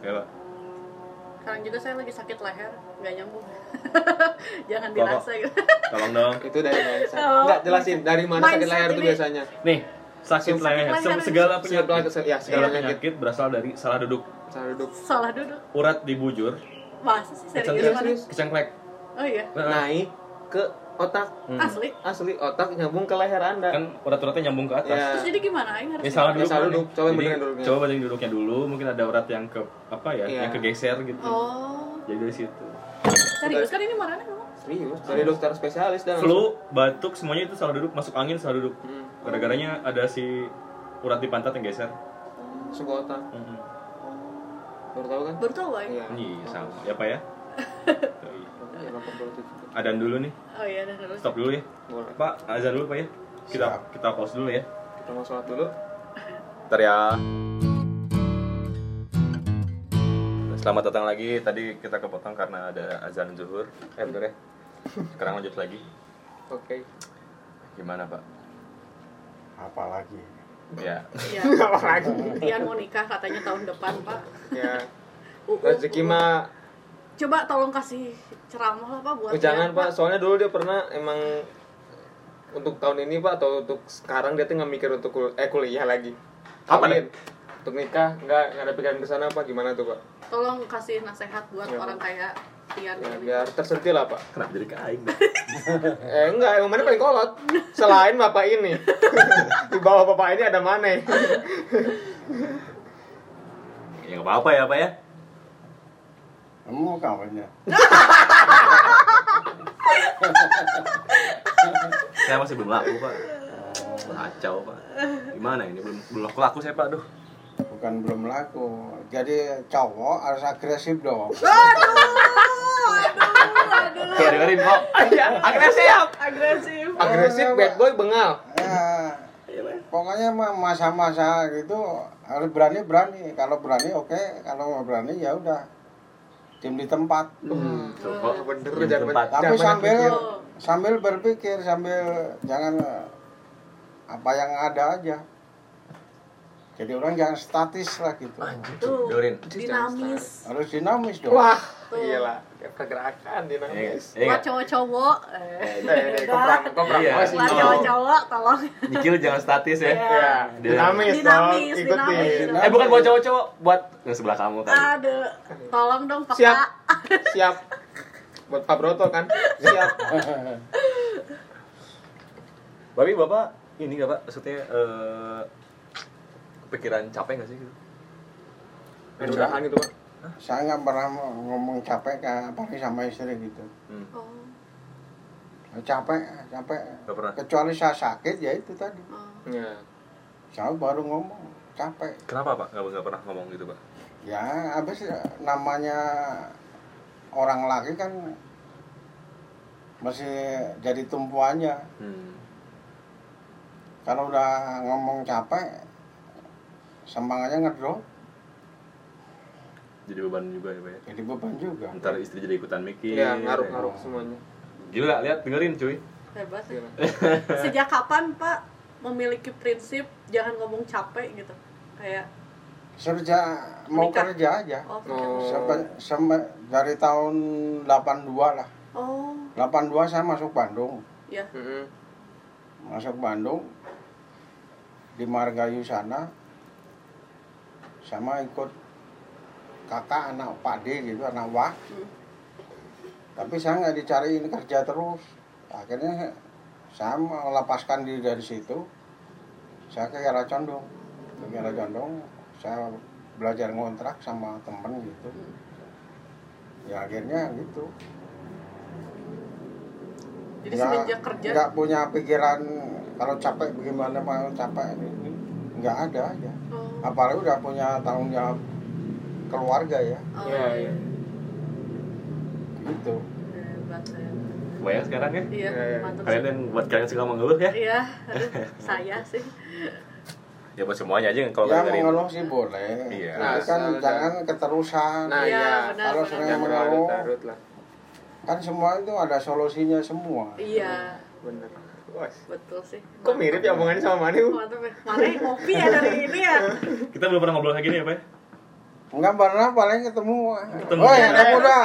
Speaker 3: ya pak
Speaker 4: Sekarang juga saya lagi sakit leher, nggak nyambung. Jangan
Speaker 3: Bapak.
Speaker 4: dirasa gitu.
Speaker 3: tolong dong
Speaker 2: Itu dari mindset.
Speaker 4: Oh.
Speaker 2: Enggak jelasin dari mana sakit
Speaker 4: Mindset
Speaker 2: leher itu
Speaker 4: ini.
Speaker 2: biasanya.
Speaker 3: Nih, sakit
Speaker 2: Sakit
Speaker 3: leher,
Speaker 4: leher.
Speaker 3: Sem- segala
Speaker 2: Segala
Speaker 3: penyakit,
Speaker 2: ya
Speaker 3: segala
Speaker 2: segala penyakit.
Speaker 3: penyakit berasal dari salah duduk,
Speaker 2: Cara duduk.
Speaker 4: Salah duduk.
Speaker 3: urat di bujur,
Speaker 4: Masa sih
Speaker 2: Iya,
Speaker 4: serius?
Speaker 3: kecengklek,
Speaker 2: serius. Nah,
Speaker 3: kecengklek. Nah,
Speaker 4: Oh iya.
Speaker 2: Naik ke otak.
Speaker 3: Hmm.
Speaker 4: Asli.
Speaker 2: Asli otak nyambung ke leher Anda.
Speaker 3: Kan urat-uratnya nyambung ke atas.
Speaker 2: Iya.
Speaker 4: Terus jadi gimana? Aing harus
Speaker 3: Ya salah
Speaker 2: Ya,
Speaker 3: duduk.
Speaker 2: salah
Speaker 3: mana nih?
Speaker 2: duduk. Coba yang
Speaker 3: Jadi,
Speaker 2: benerin duduknya.
Speaker 3: Coba benerin duduknya dulu, mungkin ada urat yang ke apa ya,
Speaker 2: Iya.
Speaker 3: yang kegeser gitu.
Speaker 4: Oh.
Speaker 3: Jadi dari situ.
Speaker 4: Serius kan ini marahnya emang?
Speaker 2: Serius, dari dokter spesialis dan
Speaker 3: flu, batuk, semuanya itu salah duduk, masuk angin salah duduk.
Speaker 2: Hmm.
Speaker 3: Gara-garanya ada si urat di pantat yang geser.
Speaker 2: langsung sekotak.
Speaker 3: Mm-mm.
Speaker 2: Baru tahu kan?
Speaker 4: Baru tau woy.
Speaker 2: Iya.
Speaker 3: Iya, sama. Ya Pak ya. Yoi.
Speaker 2: Iya, lapor politik.
Speaker 3: Adan dulu nih.
Speaker 4: Oh iya, dan terus.
Speaker 3: Stop dulu ya.
Speaker 2: Boleh.
Speaker 3: Pak, azan dulu Pak ya. Kita
Speaker 5: Siap.
Speaker 3: kita pause dulu ya.
Speaker 2: Kita mau sholat dulu.
Speaker 3: Bentar ya. Selamat datang lagi. Tadi kita kepotong karena ada azan zuhur. Eh, bentar ya. Sekarang lanjut lagi.
Speaker 2: Oke.
Speaker 3: Gimana, Pak?
Speaker 5: apalagi
Speaker 3: Ya.
Speaker 4: Iya.
Speaker 2: lagi?
Speaker 4: Tian mau nikah katanya tahun depan, Pak.
Speaker 2: Ya.
Speaker 4: U- u-
Speaker 2: Rezeki mah
Speaker 4: Coba tolong kasih ceramah lah, Pak, buat
Speaker 2: Oh, jangan
Speaker 4: Tian,
Speaker 2: pak, soalnya dulu dia pernah emang untuk tahun ini pak atau untuk sekarang dia tuh nggak mikir untuk kul- eh kuliah lagi.
Speaker 3: Apa,
Speaker 2: Kawin. Untuk nikah nggak nggak ada pikiran ke sana pak? Gimana tuh pak?
Speaker 4: Tolong kasih nasihat buat
Speaker 2: Iya,
Speaker 4: orang
Speaker 2: Pak.
Speaker 4: kayak Tian.
Speaker 2: Ya,
Speaker 4: ini.
Speaker 2: biar tersentil lah pak.
Speaker 3: Kenapa jadi kain?
Speaker 2: Eh enggak, emang mana paling kolot? Selain bapak ini, di bawah bapak ini ada mana?
Speaker 3: ya nggak apa-apa ya, Pak ya.
Speaker 5: kamu mau kawinnya
Speaker 3: Saya masih belum laku, Pak. Kacau, Pak. Gimana ini belum belum laku saya, Pak. Aduh.
Speaker 5: bukan belum laku jadi cowok harus agresif dong Ya.
Speaker 3: Tuh, dengerin kok.
Speaker 2: Agresif,
Speaker 4: Agresif.
Speaker 2: agresif, bad boy, bengal.
Speaker 5: ya, pokoknya mah masa-masa gitu harus berani berani kalau berani oke kalau nggak berani ya udah tim di tempat
Speaker 3: Hmm, tuh, kok.
Speaker 2: Oh, bener,
Speaker 3: Belum
Speaker 2: jangan
Speaker 3: tempat.
Speaker 5: tapi
Speaker 2: Jangan
Speaker 5: sambil
Speaker 2: pikir.
Speaker 5: sambil berpikir sambil jangan eh, apa yang ada aja jadi orang jangan statis lah gitu
Speaker 4: Tuh,
Speaker 3: Dengerin.
Speaker 4: dinamis.
Speaker 5: harus dinamis dong
Speaker 2: Wah,
Speaker 4: Tuh.
Speaker 2: gila, pergerakan dinamis.
Speaker 3: Iya,
Speaker 4: Buat
Speaker 3: nggak?
Speaker 4: cowok-cowok. eh.
Speaker 2: Eh, komprang, komprang,
Speaker 3: Iya.
Speaker 2: masih.
Speaker 4: Buat cowok-cowok, tolong.
Speaker 3: Nyikil jangan statis ya.
Speaker 2: Iya, dinamis, dong,
Speaker 4: Dinamis,
Speaker 2: ikutin.
Speaker 5: dinamis.
Speaker 3: Eh bukan buat cowok-cowok, buat yang sebelah kamu kan.
Speaker 4: Aduh, tolong dong peka.
Speaker 2: Siap. Siap. Buat Pak Broto kan? Siap.
Speaker 3: Tapi bapak ini nggak pak, maksudnya eh, kepikiran capek nggak sih gitu?
Speaker 2: Mudah-mudahan gitu, Pak.
Speaker 5: saya nggak pernah ngomong capek kayak paling sama istri gitu
Speaker 3: Hmm.
Speaker 4: Oh,
Speaker 5: capek capek
Speaker 3: Nggak pernah.
Speaker 5: kecuali saya sakit ya itu tadi
Speaker 4: oh.
Speaker 2: Ya.
Speaker 5: saya baru ngomong capek
Speaker 3: Kenapa pak? Nggak nggak pernah ngomong gitu pak?
Speaker 5: ya habis ya, namanya orang laki kan masih jadi tumpuannya
Speaker 3: Hmm.
Speaker 5: kalau udah ngomong capek semangatnya ngedrop
Speaker 3: Jadi beban juga ya pak ya.
Speaker 5: jadi beban juga
Speaker 3: Ntar istri jadi ikutan mikir.
Speaker 2: Iya, ngaruh-ngaruh semuanya. Iya.
Speaker 3: Gila, lihat dengerin cuy.
Speaker 4: Hebat ya.
Speaker 2: Gila.
Speaker 4: Sejak kapan Pak memiliki prinsip jangan ngomong capek gitu? Kayak
Speaker 5: kerja mau
Speaker 4: Menikah.
Speaker 5: kerja aja
Speaker 4: oh,
Speaker 2: Oh.
Speaker 5: Sampai- sampai dari tahun 82 lah
Speaker 4: oh,
Speaker 5: 82 saya masuk Bandung
Speaker 4: ya.
Speaker 2: Mm-mm.
Speaker 5: masuk Bandung di Margayu sana sama ikut kakak anak pade gitu anak wah
Speaker 4: Hmm.
Speaker 5: tapi saya nggak dicariin kerja terus akhirnya saya melepaskan diri dari situ saya ke Kiara Condong ke Kiara Condong saya belajar ngontrak sama temen gitu ya akhirnya gitu
Speaker 4: Jadi semenjak kerja
Speaker 5: nggak punya pikiran kalau capek bagaimana mau capek ini nggak ada aja
Speaker 4: oh,
Speaker 5: apalagi udah punya tanggung jawab keluarga ya
Speaker 4: oh,
Speaker 2: Iya, iya.
Speaker 5: gitu
Speaker 4: Hebat saya.
Speaker 3: Banyak sekarang ya.
Speaker 4: Iya,
Speaker 2: Iya, iya.
Speaker 4: mantap.
Speaker 3: Kalian yang buat kalian yang suka mengeluh ya?
Speaker 4: Iya, aduh, saya sih.
Speaker 3: Ya buat semuanya aja kalau
Speaker 5: ya
Speaker 3: nggak dengerin.
Speaker 5: mengeluh sih boleh
Speaker 3: Iya.
Speaker 5: tapi kan
Speaker 2: Nah,
Speaker 5: jangan keterusan
Speaker 2: Nah,
Speaker 4: Iya,
Speaker 2: iya.
Speaker 4: benar,
Speaker 5: Kalau
Speaker 4: benar.
Speaker 5: sering-
Speaker 2: Jangan berlarut-larut lah.
Speaker 5: kan semua itu ada solusinya semua
Speaker 4: Iya,
Speaker 2: Bener. Wah,
Speaker 4: betul sih.
Speaker 2: Kok mirip ya omongannya sama Mani? Bu?
Speaker 4: Mantap ya. Mana yang ngopi ya dari ini ya?
Speaker 3: Kita belum pernah ngobrol kayak gini ya pak? ya?
Speaker 5: nggak pernah paling ketemu
Speaker 3: Ketemu.
Speaker 5: oh ya
Speaker 3: Iya.
Speaker 5: kamu udah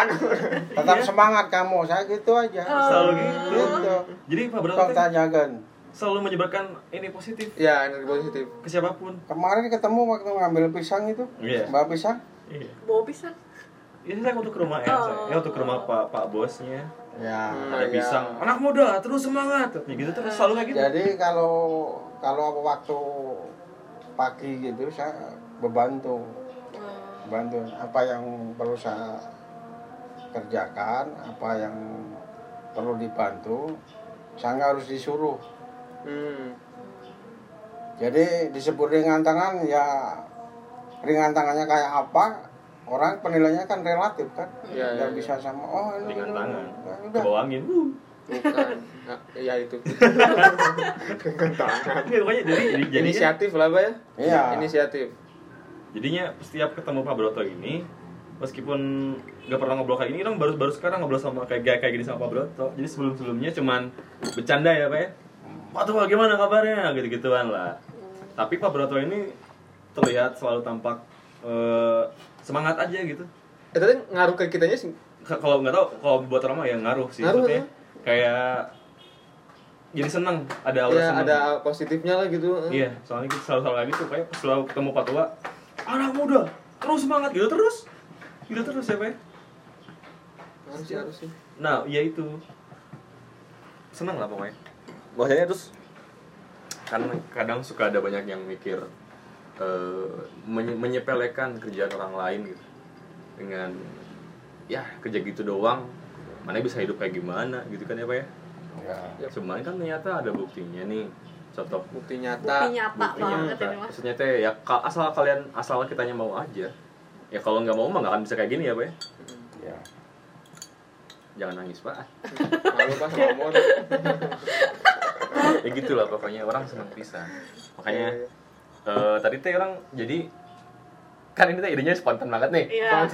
Speaker 5: tetap semangat kamu saya gitu aja
Speaker 4: Oh.
Speaker 3: Selalu gitu.
Speaker 5: gitu
Speaker 3: Jadi pak Broto
Speaker 5: Tong
Speaker 3: teh
Speaker 5: tanyakan
Speaker 3: selalu menyebarkan ini positif
Speaker 2: Ya, energi positif.
Speaker 3: ke siapapun.
Speaker 5: kemarin ketemu waktu ngambil pisang itu
Speaker 3: Iya.
Speaker 5: mbak pisang
Speaker 3: Iya.
Speaker 4: Bawa pisang.
Speaker 3: Ini saya waktu ke rumah Elsa,
Speaker 4: Oh.
Speaker 3: ya waktu ke rumah Pak Pak bosnya.
Speaker 5: ya
Speaker 2: Hmm,
Speaker 3: Ada
Speaker 2: iya.
Speaker 3: pisang, anak muda terus semangat. Ya gitu terus selalu kayak gitu.
Speaker 5: Jadi kalau kalau waktu pagi gitu saya membantu,
Speaker 4: Oh,
Speaker 5: bantu apa yang perlu saya kerjakan apa yang perlu dibantu saya harus disuruh
Speaker 2: hmm.
Speaker 5: jadi disebut ringan tangan ya ringan tangannya kayak apa orang penilaiannya kan relatif kan
Speaker 2: Iya,
Speaker 5: nggak
Speaker 2: iya,
Speaker 5: bisa sama oh ini
Speaker 3: dengan
Speaker 5: ini,
Speaker 3: tangan
Speaker 5: ini.
Speaker 3: ke
Speaker 5: Nah, udah
Speaker 3: bawah angin wuh.
Speaker 2: bukan Nah, ya itu Dengan tangan.
Speaker 3: Nggak, pokoknya jadi jadi- jadinya,
Speaker 2: inisiatif lah pak ya
Speaker 5: Iya.
Speaker 2: inisiatif
Speaker 3: jadinya setiap ketemu Pak Broto ini meskipun nggak pernah ngobrol kayak gini, kan baru baru sekarang ngobrol sama kayak kayak kayak gini sama Pak Broto. Jadi sebelum sebelumnya cuman bercanda ya Pak ya. Pak Tua gimana kabarnya gitu gituan lah. Tapi Pak Broto ini terlihat selalu tampak eh, semangat aja gitu.
Speaker 2: Eh, tapi ngaruh ke kitanya sih
Speaker 3: K- kalau nggak tahu kalau buat orang mah ya ngaruh sih
Speaker 2: Ngaruh,
Speaker 3: maksudnya kayak jadi seneng ada aura
Speaker 2: ya
Speaker 3: seneng
Speaker 2: ada positifnya lah gitu
Speaker 3: iya soalnya kita selalu selalu lagi tuh kayak pas selalu ketemu Pak Tua anak muda terus semangat gitu terus gitu terus ya Pak
Speaker 2: harus sih harus sih
Speaker 3: nah ya itu seneng lah pokoknya bahasanya terus kan kadang suka ada banyak yang mikir eh, menye- menyepelekan kerjaan orang lain gitu dengan ya kerja gitu doang mana bisa hidup kayak gimana gitu kan ya pak ya
Speaker 5: ya.
Speaker 3: cuman kan ternyata ada buktinya nih contoh
Speaker 2: bukti
Speaker 4: bukti
Speaker 2: Nah, nyata
Speaker 4: nyata banget
Speaker 3: nyata.
Speaker 4: ini mas
Speaker 3: maksudnya teh ya ka- asal kalian asal kitanya mau aja ya kalau nggak mau mah nggak akan bisa kayak gini ya pak ya
Speaker 5: ya.
Speaker 3: jangan nangis pak
Speaker 2: malu pas ngomong
Speaker 3: ya gitulah pokoknya orang seneng pisan makanya eh, tadi teh orang jadi kan ini teh idenya spontan banget nih
Speaker 4: iya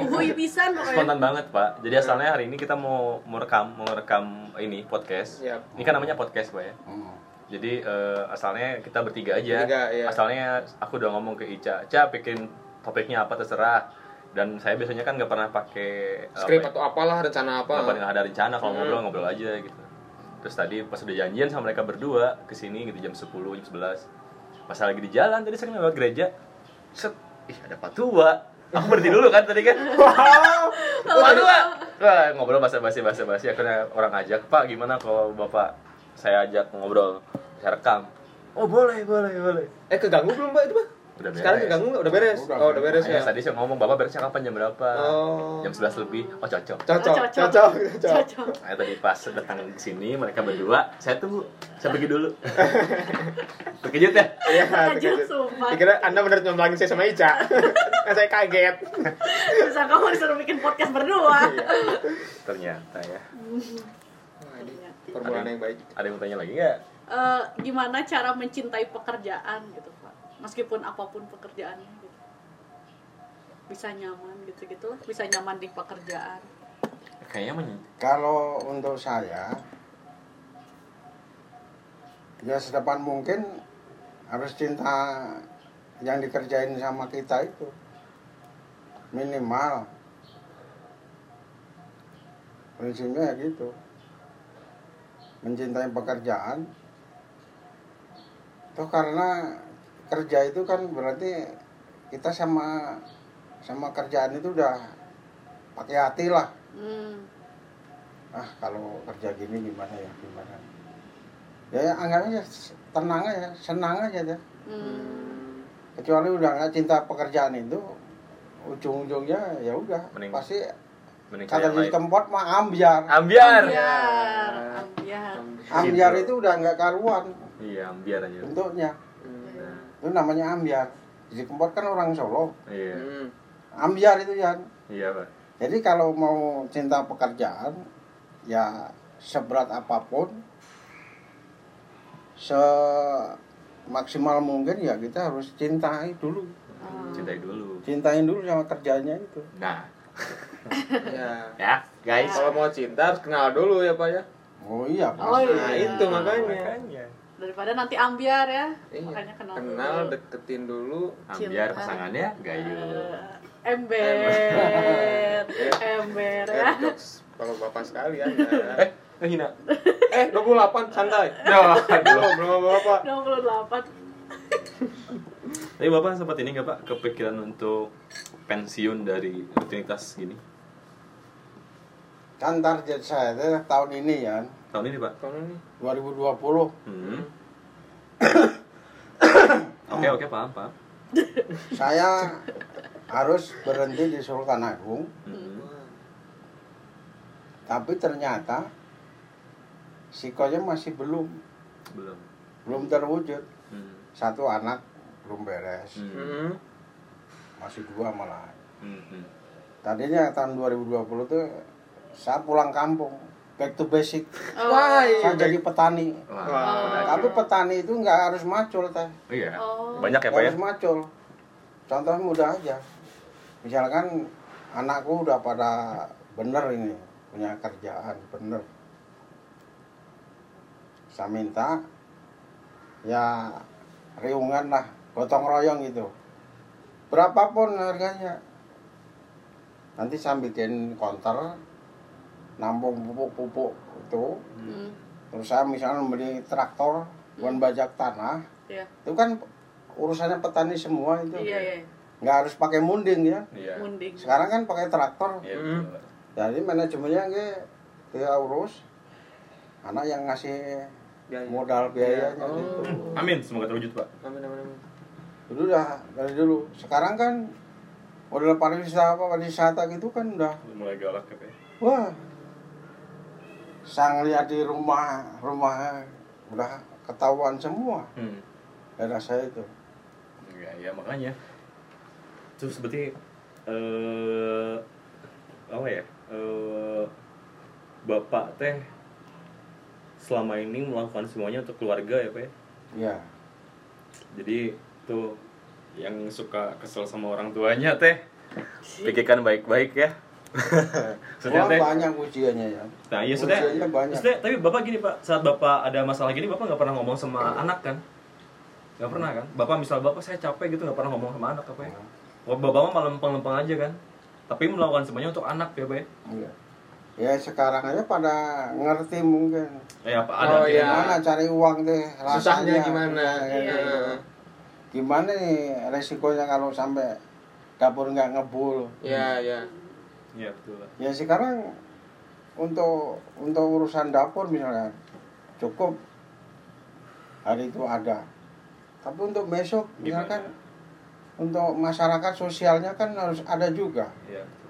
Speaker 4: uhui pisan pokoknya Oh,
Speaker 3: spontan banget pak jadi asalnya hari ini kita mau mau rekam mau rekam ini podcast
Speaker 2: Yap.
Speaker 3: ini kan namanya podcast pak ya
Speaker 5: Hmm.
Speaker 3: jadi eh, asalnya kita bertiga aja
Speaker 2: Bertiga, iya.
Speaker 3: asalnya aku udah ngomong ke Ica Ica bikin topiknya apa terserah dan saya biasanya kan nggak pernah pakai eh,
Speaker 2: skrip
Speaker 3: apa ya,
Speaker 2: atau apalah rencana apa
Speaker 3: nggak pernah ada rencana kalau ngobrol ngobrol aja gitu terus tadi pas udah janjian sama mereka berdua kesini gitu jam 10 jam 11 pas lagi di jalan tadi saya kan lewat gereja set ih ada patua aku berhenti dulu kan tadi kan wow patua Wah, ngobrol bahasa basi bahasa basi akhirnya orang ajak pak gimana kalau bapak saya ajak ngobrol saya rekam oh boleh boleh boleh
Speaker 2: eh keganggu belum pak itu pak
Speaker 3: Udah
Speaker 2: sekarang
Speaker 3: beres.
Speaker 2: keganggu nggak udah beres
Speaker 5: Udah,
Speaker 2: oh udah beres ya
Speaker 3: Makanya tadi saya ngomong bapak beres kapan jam berapa
Speaker 2: Oh.
Speaker 3: jam 11 lebih oh cocok
Speaker 2: cocok
Speaker 4: Oh, cocok.
Speaker 2: cocok cocok
Speaker 4: cocok
Speaker 3: Saya tadi pas datang ke sini mereka berdua, saya tunggu, saya pergi dulu. Terkejut ya?
Speaker 2: Iya,
Speaker 4: Terkejut,
Speaker 2: terkejut.
Speaker 4: sumpah.
Speaker 2: Dikira Anda benar nyomblangin saya sama Ica. Kan saya kaget. Iya.
Speaker 4: bisa kamu disuruh bikin podcast berdua
Speaker 3: Ternyata ya.
Speaker 2: Wah, ini Permulaan yang baik.
Speaker 3: Ada yang mau tanya lagi nggak?
Speaker 4: Eh, gimana cara mencintai pekerjaan gitu pak meskipun apapun pekerjaannya gitu. bisa nyaman gitu gitu lah bisa nyaman di pekerjaan
Speaker 3: Kayaknya men
Speaker 5: Kalau untuk saya, ya sedepan mungkin harus cinta yang dikerjain sama kita itu minimal prinsipnya ya gitu mencintai pekerjaan toh karena kerja itu kan berarti kita sama sama kerjaan itu udah pakai hati lah
Speaker 4: hmm.
Speaker 5: ah kalau kerja gini gimana ya gimana ya ya, anggapnya se- tenang aja senang aja deh
Speaker 4: Hmm.
Speaker 5: kecuali udah nggak cinta pekerjaan itu ujung-ujungnya ya udah
Speaker 3: Mending
Speaker 5: pasti
Speaker 3: menikah
Speaker 5: kata
Speaker 3: yang
Speaker 5: di
Speaker 3: lain.
Speaker 5: tempat mah ambiar
Speaker 3: Ambiar.
Speaker 4: ambiar ambiar
Speaker 5: ambiar
Speaker 3: Gitu.
Speaker 5: itu udah nggak karuan
Speaker 3: Iya, ambiar aja.
Speaker 5: bentuknya
Speaker 3: Nah,
Speaker 5: itu namanya ambiar di tempat kan orang Solo
Speaker 3: iya.
Speaker 2: Hmm.
Speaker 5: ambiar itu ya
Speaker 3: Iya, Pak.
Speaker 5: jadi kalau mau cinta pekerjaan ya seberat apapun semaksimal mungkin ya kita harus cintai dulu
Speaker 4: Ah.
Speaker 3: Cintai dulu.
Speaker 5: cintain dulu sama kerjanya itu
Speaker 3: Nah,
Speaker 2: Ya.
Speaker 3: ya, guys.
Speaker 2: Kalau mau cinta harus kenal dulu ya, Pak ya.
Speaker 5: oh iya
Speaker 4: Oh,
Speaker 5: pasti
Speaker 2: Nah,
Speaker 4: Iya.
Speaker 2: itu makanya.
Speaker 4: daripada nanti ambiar ya
Speaker 2: Iya.
Speaker 4: makanya kenal,
Speaker 2: Kenal,
Speaker 4: dulu.
Speaker 2: deketin dulu.
Speaker 3: Ambiar pasangannya gayu.
Speaker 4: Eh, ember ember
Speaker 2: Eh,
Speaker 4: ya
Speaker 2: jokes kalau bapak sekali ya.
Speaker 3: Eh, ngehina.
Speaker 2: Eh, 28 santai.
Speaker 3: Nah, aduh.
Speaker 2: Belum, belum apa-apa.
Speaker 4: 28
Speaker 3: Tapi Bapak sempat ini nggak Pak kepikiran untuk pensiun dari rutinitas gini?
Speaker 5: kan target saya itu tahun ini ya
Speaker 3: Tahun ini, Pak.
Speaker 2: Kamu nih.
Speaker 5: 2020
Speaker 3: Hmm. Oke, oke, paham, paham.
Speaker 5: saya harus berhenti di Sultan Agung
Speaker 3: Hmm.
Speaker 5: tapi ternyata psikonya masih belum
Speaker 3: belum
Speaker 5: belum terwujud
Speaker 3: hmm.
Speaker 5: satu anak belum beres
Speaker 3: Hmm.
Speaker 2: Hmm.
Speaker 5: masih dua malah
Speaker 3: Hmm. Hmm.
Speaker 5: tadinya tahun 2020 tuh saya pulang kampung back to basic
Speaker 4: Oh.
Speaker 2: Wah, iya.
Speaker 5: saya jadi petani
Speaker 3: Wah,
Speaker 2: Wah.
Speaker 3: udah
Speaker 5: tapi
Speaker 3: gitu.
Speaker 5: petani itu nggak harus macul teh
Speaker 3: Oh, iya
Speaker 4: Oh.
Speaker 3: banyak ya
Speaker 5: Nggak
Speaker 3: pak ya
Speaker 5: harus macul contoh mudah aja misalkan anakku udah pada bener ini punya kerjaan bener saya minta ya riungan lah gotong royong gitu berapapun harganya nanti saya bikin konter nampung pupuk-pupuk itu
Speaker 4: Hmm.
Speaker 5: terus saya misalnya beli traktor bukan bajak tanah
Speaker 4: Iya.
Speaker 5: itu kan urusannya petani semua itu
Speaker 4: Iya, iya.
Speaker 5: nggak harus pakai munding ya
Speaker 3: iya
Speaker 4: Munding.
Speaker 5: sekarang kan pakai traktor
Speaker 3: Iya,
Speaker 2: Hmm.
Speaker 3: betul.
Speaker 5: jadi manajemennya nge dia urus anak yang ngasih
Speaker 2: Biaya.
Speaker 5: modal
Speaker 4: Iya.
Speaker 5: biayanya
Speaker 2: Biaya. Iya, Oh.
Speaker 5: gitu
Speaker 3: amin semoga terwujud pak
Speaker 2: Amin, amin, amin.
Speaker 5: itu udah dari dulu sekarang kan modal pariwisata apa pariwisata gitu kan udah
Speaker 3: mulai galak ya pak ya.
Speaker 5: wah saya ngeliat di rumah rumah udah ketahuan semua
Speaker 3: hmm.
Speaker 5: daerah saya itu
Speaker 3: Ya, ya makanya. Terus berarti eh apa ya? Eh Bapak teh selama ini melakukan semuanya untuk keluarga ya, Pak. ya?
Speaker 5: ya
Speaker 3: Jadi tuh yang suka kesel sama orang tuanya teh pikirkan baik-baik ya. Maksudnya
Speaker 5: Wah,
Speaker 3: teh.
Speaker 5: banyak ujiannya ya
Speaker 3: Nah, iya maksudnya,
Speaker 5: Ujiannya banyak.
Speaker 3: maksudnya, tapi Bapak gini, Pak, saat Bapak ada masalah gini, Bapak nggak pernah ngomong sama anak kan? Nggak pernah kan? Bapak misal Bapak saya capek gitu nggak pernah ngomong sama anak apa ya? Wah, Bapak mah malah lempeng-lempeng aja kan? Tapi melakukan semuanya untuk anak ya, Pak ya?
Speaker 5: Iya. Ya sekarang aja pada ngerti mungkin.
Speaker 3: Eh, apa ada?
Speaker 2: Oh, iya.
Speaker 5: Gimana cari uang deh
Speaker 2: Susahnya
Speaker 5: rasanya.
Speaker 2: gimana?
Speaker 5: Iya.
Speaker 2: Nah,
Speaker 5: Gimana nih resikonya kalau sampai dapur nggak ngebul?
Speaker 2: Ya, ya.
Speaker 3: Iya, betul. Pak.
Speaker 5: Ya sekarang untuk untuk urusan dapur misalnya cukup hari itu ada. Tapi untuk besok
Speaker 3: Gimana?
Speaker 5: misalkan untuk masyarakat sosialnya kan harus ada juga.
Speaker 3: Iya, betul.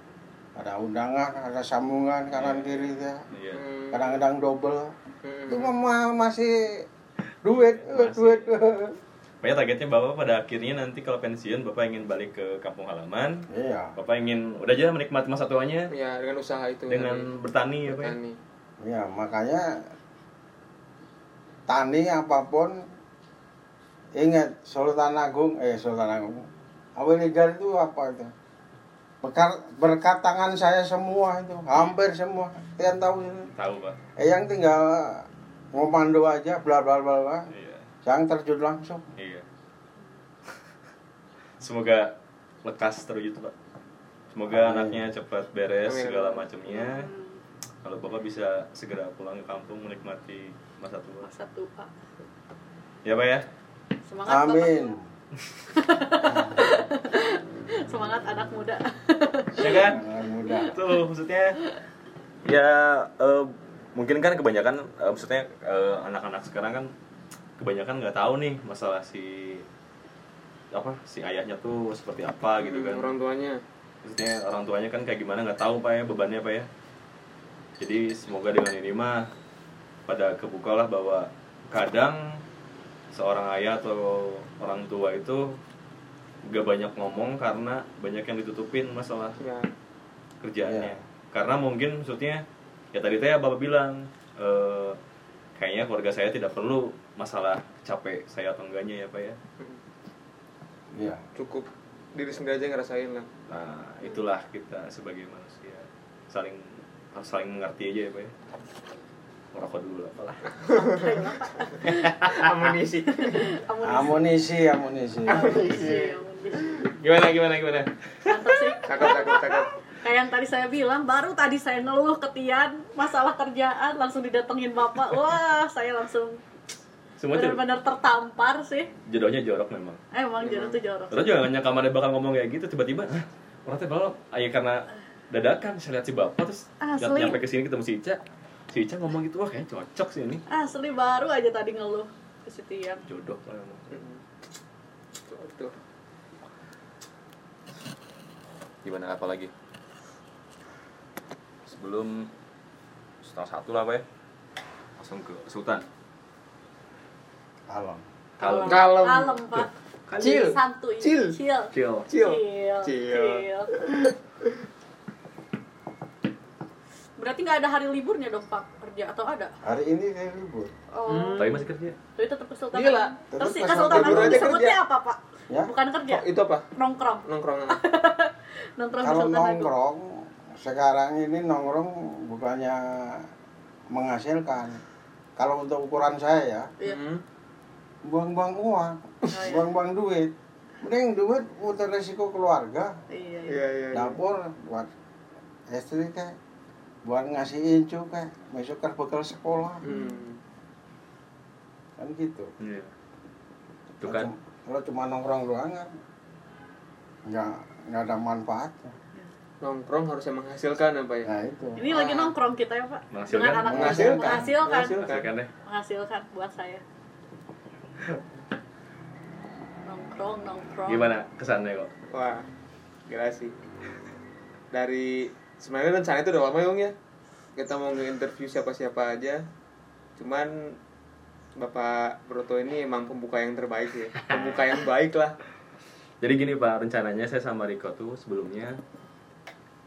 Speaker 5: Ada undangan, ada sambungan
Speaker 3: Iya.
Speaker 5: kanan kiri ya.
Speaker 3: Iya.
Speaker 2: Hmm.
Speaker 5: Kadang-kadang double.
Speaker 2: Hmm.
Speaker 5: itu mah ma- masih duit eh,
Speaker 3: Masih.
Speaker 5: duit
Speaker 3: Pokoknya targetnya Bapak pada akhirnya nanti kalau pensiun Bapak ingin balik ke kampung halaman.
Speaker 5: iya
Speaker 3: Bapak ingin udah aja menikmati masa tuanya
Speaker 2: Ya, dengan usaha itu.
Speaker 3: dengan bertani ya, Pak. ya?
Speaker 2: bertani.
Speaker 5: iya makanya tani apapun ingat Sultan Agung eh Sultan Agung Awiligar itu apa itu Bekar, berkat tangan saya semua itu hampir semua tiap tahun
Speaker 3: Tahu, Pak.
Speaker 5: eh yang tinggal ngomando aja bla bla bla bla
Speaker 3: Iya.
Speaker 5: jangan terjun langsung
Speaker 3: Iya. Semoga lekas terwujud pak. Semoga
Speaker 5: Amin.
Speaker 3: anaknya cepat beres
Speaker 2: Amin.
Speaker 3: segala macamnya. Kalau bapak bisa segera pulang ke kampung menikmati masa tua.
Speaker 4: Masa tua.
Speaker 3: Ya pak ya.
Speaker 4: Semangat
Speaker 5: amin
Speaker 4: Bapak. Semangat anak muda.
Speaker 3: Ya kan?
Speaker 5: Jangan mudah
Speaker 3: Tuh maksudnya. Ya eh, mungkin kan kebanyakan eh, maksudnya eh, anak-anak sekarang kan kebanyakan nggak tahu nih masalah si apa si ayahnya tuh seperti apa gitu kan.
Speaker 2: Orang tuanya.
Speaker 3: maksudnya orang tuanya kan kayak gimana nggak tahu pak ya bebannya pak ya jadi semoga dengan ini mah pada kebukalah bahwa kadang seorang ayah atau orang tua itu gak banyak ngomong karena banyak yang ditutupin masalah
Speaker 2: Ya.
Speaker 3: kerjaannya
Speaker 5: Iya.
Speaker 3: karena mungkin maksudnya ya tadi teh bapak bilang eh, kayaknya keluarga saya tidak perlu masalah capek saya atau enggaknya ya pak ya
Speaker 5: iya
Speaker 2: Cukup diri sendiri aja ngerasain lah.
Speaker 3: Nah, itulah kita sebagai manusia saling harus saling mengerti aja ya, Pak ya. Merokok dulu lah, apalah.
Speaker 2: Amunisi.
Speaker 4: Amunisi.
Speaker 5: amunisi amunisi
Speaker 4: Amunisi. amunisi.
Speaker 2: gimana gimana gimana?
Speaker 4: Mantap sih.
Speaker 2: Cakep cakep cakep.
Speaker 4: Kayak yang tadi saya bilang, baru tadi saya ngeluh ke Tian masalah kerjaan, langsung didatengin bapak. Wah, saya langsung
Speaker 3: Semua tuh
Speaker 4: benar-benar tertampar sih.
Speaker 3: jodohnya jorok memang.
Speaker 4: Emang jodoh tuh jorok.
Speaker 3: Terus juga hanya kamarnya bakal ngomong kayak gitu tiba-tiba, "Hah, orang teh balap. Ayo karena dadakan saya lihat si Bapak terus
Speaker 4: Asli.
Speaker 3: nyam- nyampe ke sini ketemu si Ica. Si Ica ngomong gitu, wah kayaknya cocok sih ini.
Speaker 4: Asli baru aja tadi ngeluh ke si Tian.
Speaker 3: Jodoh lah emang.
Speaker 2: Hmm. Tuh, tuh.
Speaker 6: gimana apa lagi sebelum
Speaker 3: setengah satu lah pak ya langsung ke sultan
Speaker 6: Kalem.
Speaker 4: Kalem.
Speaker 2: Kalem.
Speaker 4: Kalem, Pak.
Speaker 2: Chill.
Speaker 4: Santuy.
Speaker 2: Chill.
Speaker 4: Chill.
Speaker 3: chill
Speaker 2: Chill.
Speaker 4: Chill.
Speaker 2: Chill.
Speaker 4: Berarti nggak ada hari liburnya dong, Pak? Kerja atau ada?
Speaker 5: Hari ini saya libur.
Speaker 4: Oh.
Speaker 3: tapi masih kerja
Speaker 4: Tapi tetap kesultanan.
Speaker 2: Gila.
Speaker 4: Terus sih
Speaker 5: Tetap
Speaker 2: Hmm. Iya. kesultanan.
Speaker 4: kesultanan Agung
Speaker 2: Liburannya
Speaker 4: disebutnya
Speaker 2: kerja.
Speaker 4: apa, Pak?
Speaker 5: Ya.
Speaker 4: Bukan kerja.
Speaker 2: Oh, itu apa?
Speaker 4: Nongkrong.
Speaker 2: Nongkrong.
Speaker 4: Nongkrong
Speaker 5: Kalau
Speaker 4: Kesultanan Agung.
Speaker 5: nongkrong sekarang ini nongkrong bukannya menghasilkan. Kalau untuk ukuran saya ya,
Speaker 4: Iya.
Speaker 2: Hmm.
Speaker 5: buang-buang uang,
Speaker 4: iya.
Speaker 5: buang-buang duit. Mending duit untuk resiko keluarga,
Speaker 4: Iya, iya.
Speaker 2: Iya, iya. iya.
Speaker 5: dapur buat istri kayak buat ngasih incu kayak besok kan bekal sekolah
Speaker 2: Hmm.
Speaker 5: kan gitu.
Speaker 3: iya itu kan
Speaker 5: Kalau cuma nongkrong doang kan nggak nggak ada manfaatnya.
Speaker 2: Nongkrong harus yang menghasilkan apa ya?
Speaker 5: Nah itu.
Speaker 4: Ini lagi nongkrong kita ya, Pak.
Speaker 3: Menghasilkan.
Speaker 4: Dengan anak
Speaker 5: Menghasilkan.
Speaker 4: muda. Menghasilkan.
Speaker 2: Menghasilkan.
Speaker 3: masih kan deh
Speaker 4: Menghasilkan buat saya. Nongkrong, nongkrong.
Speaker 3: gimana kesannya kok
Speaker 2: Wah, gila sih. Dari sebenarnya rencana itu udah lama Yung, ya. Kita mau nge-interview siapa-siapa aja. Cuman Bapak Broto ini emang pembuka yang terbaik ya. Pembuka yang baik lah.
Speaker 3: Jadi gini Pak, rencananya saya sama Riko tuh sebelumnya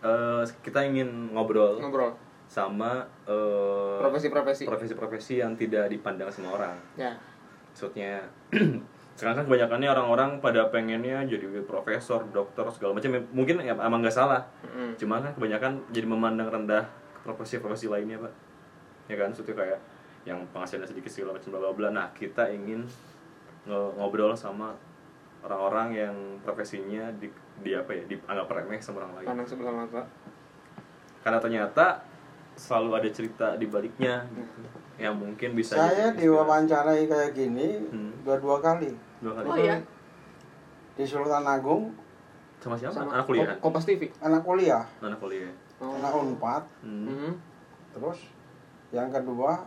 Speaker 3: eh, kita ingin ngobrol
Speaker 2: Ngobrol
Speaker 3: sama eh,
Speaker 2: profesi-profesi.
Speaker 3: profesi-profesi yang tidak dipandang semua orang.
Speaker 2: Ya.
Speaker 3: Maksudnya sekarang kan kebanyakannya orang-orang pada pengennya jadi profesor, dokter segala macam. Mungkin ya, emang nggak salah.
Speaker 2: Mm.
Speaker 3: Cuma kan kebanyakan jadi memandang rendah profesi-profesi lainnya Pak. Ya kan, maksudnya kayak yang penghasilannya sedikit segala macam bla bla bla. Nah kita ingin ngo- ngobrol sama orang-orang yang profesinya di, di apa ya dianggap remeh sama orang lain
Speaker 2: Pandang sebelah mata.
Speaker 3: karena ternyata selalu ada cerita di baliknya gitu, yang mungkin bisa jadi
Speaker 5: Saya
Speaker 3: inspirasi.
Speaker 5: diwawancarai kayak gini
Speaker 3: Hmm.
Speaker 5: dua dua kali
Speaker 3: dua kali
Speaker 4: Oh iya.
Speaker 5: di Sultan Agung
Speaker 3: sama siapa
Speaker 2: Sama
Speaker 3: anak kuliah
Speaker 2: Ko- Kompas TV.
Speaker 5: anak kuliah,
Speaker 3: anak kuliah
Speaker 2: Oh.
Speaker 5: anak unpad,
Speaker 3: hmm.
Speaker 2: Mhm.
Speaker 5: terus yang kedua